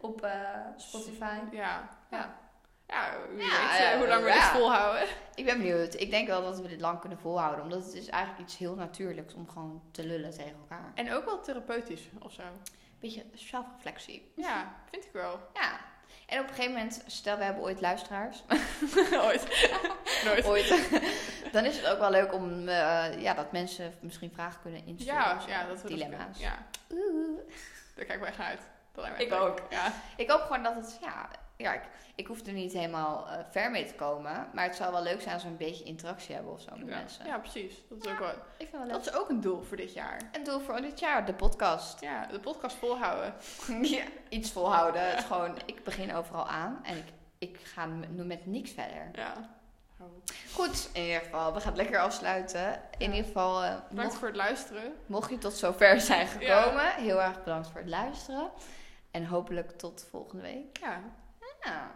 Speaker 1: op eh, Spotify.
Speaker 2: Ja. Ja. Ja, wie
Speaker 1: Ja,
Speaker 2: weet eh,
Speaker 1: ja,
Speaker 2: hoe lang we
Speaker 1: ja.
Speaker 2: dit volhouden.
Speaker 1: Ik ben benieuwd. Ik denk wel dat we dit lang kunnen volhouden, omdat het is eigenlijk iets heel natuurlijks om gewoon te lullen tegen elkaar.
Speaker 2: En ook wel therapeutisch of zo.
Speaker 1: Beetje zelfreflectie.
Speaker 2: Ja, vind ik wel.
Speaker 1: Ja. En op een gegeven moment, stel we hebben ooit luisteraars.
Speaker 2: Ooit. Nooit.
Speaker 1: ooit. Dan is het ook wel leuk om eh, ja, dat mensen misschien vragen kunnen insturen.
Speaker 2: Ja,
Speaker 1: of zo.
Speaker 2: ja, dat we dat
Speaker 1: dilemma's.
Speaker 2: kunnen. Ja,
Speaker 1: Oeh.
Speaker 2: daar kijk ik wel echt naar uit. Dat lijkt me
Speaker 1: Ik
Speaker 2: echt leuk.
Speaker 1: ook.
Speaker 2: Ja.
Speaker 1: Ik hoop gewoon dat het, ja, ja ik, ik hoef er niet helemaal eh, ver mee te komen. Maar het zou wel leuk zijn als we een beetje interactie hebben of zo met
Speaker 2: Ja.
Speaker 1: mensen.
Speaker 2: ja, precies. Dat is, ook wel,
Speaker 1: Ik vind het wel leuk.
Speaker 2: dat is ook een doel voor dit jaar.
Speaker 1: Een doel voor dit jaar, de podcast.
Speaker 2: Ja, de podcast volhouden.
Speaker 1: ja, iets volhouden. Het is gewoon, ik begin overal aan en ik, ik ga met, met niks verder.
Speaker 2: Ja. Oh.
Speaker 1: Goed, in ieder geval, we gaan het lekker afsluiten. In
Speaker 2: Ja.
Speaker 1: ieder geval, eh,
Speaker 2: Bedankt
Speaker 1: mocht
Speaker 2: voor het luisteren.
Speaker 1: Mocht je tot zover zijn
Speaker 2: Ja.
Speaker 1: gekomen, heel erg bedankt voor het luisteren. En hopelijk tot volgende week.
Speaker 2: Ja,
Speaker 1: Ja.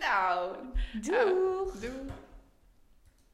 Speaker 1: nou, doeg!
Speaker 2: doei.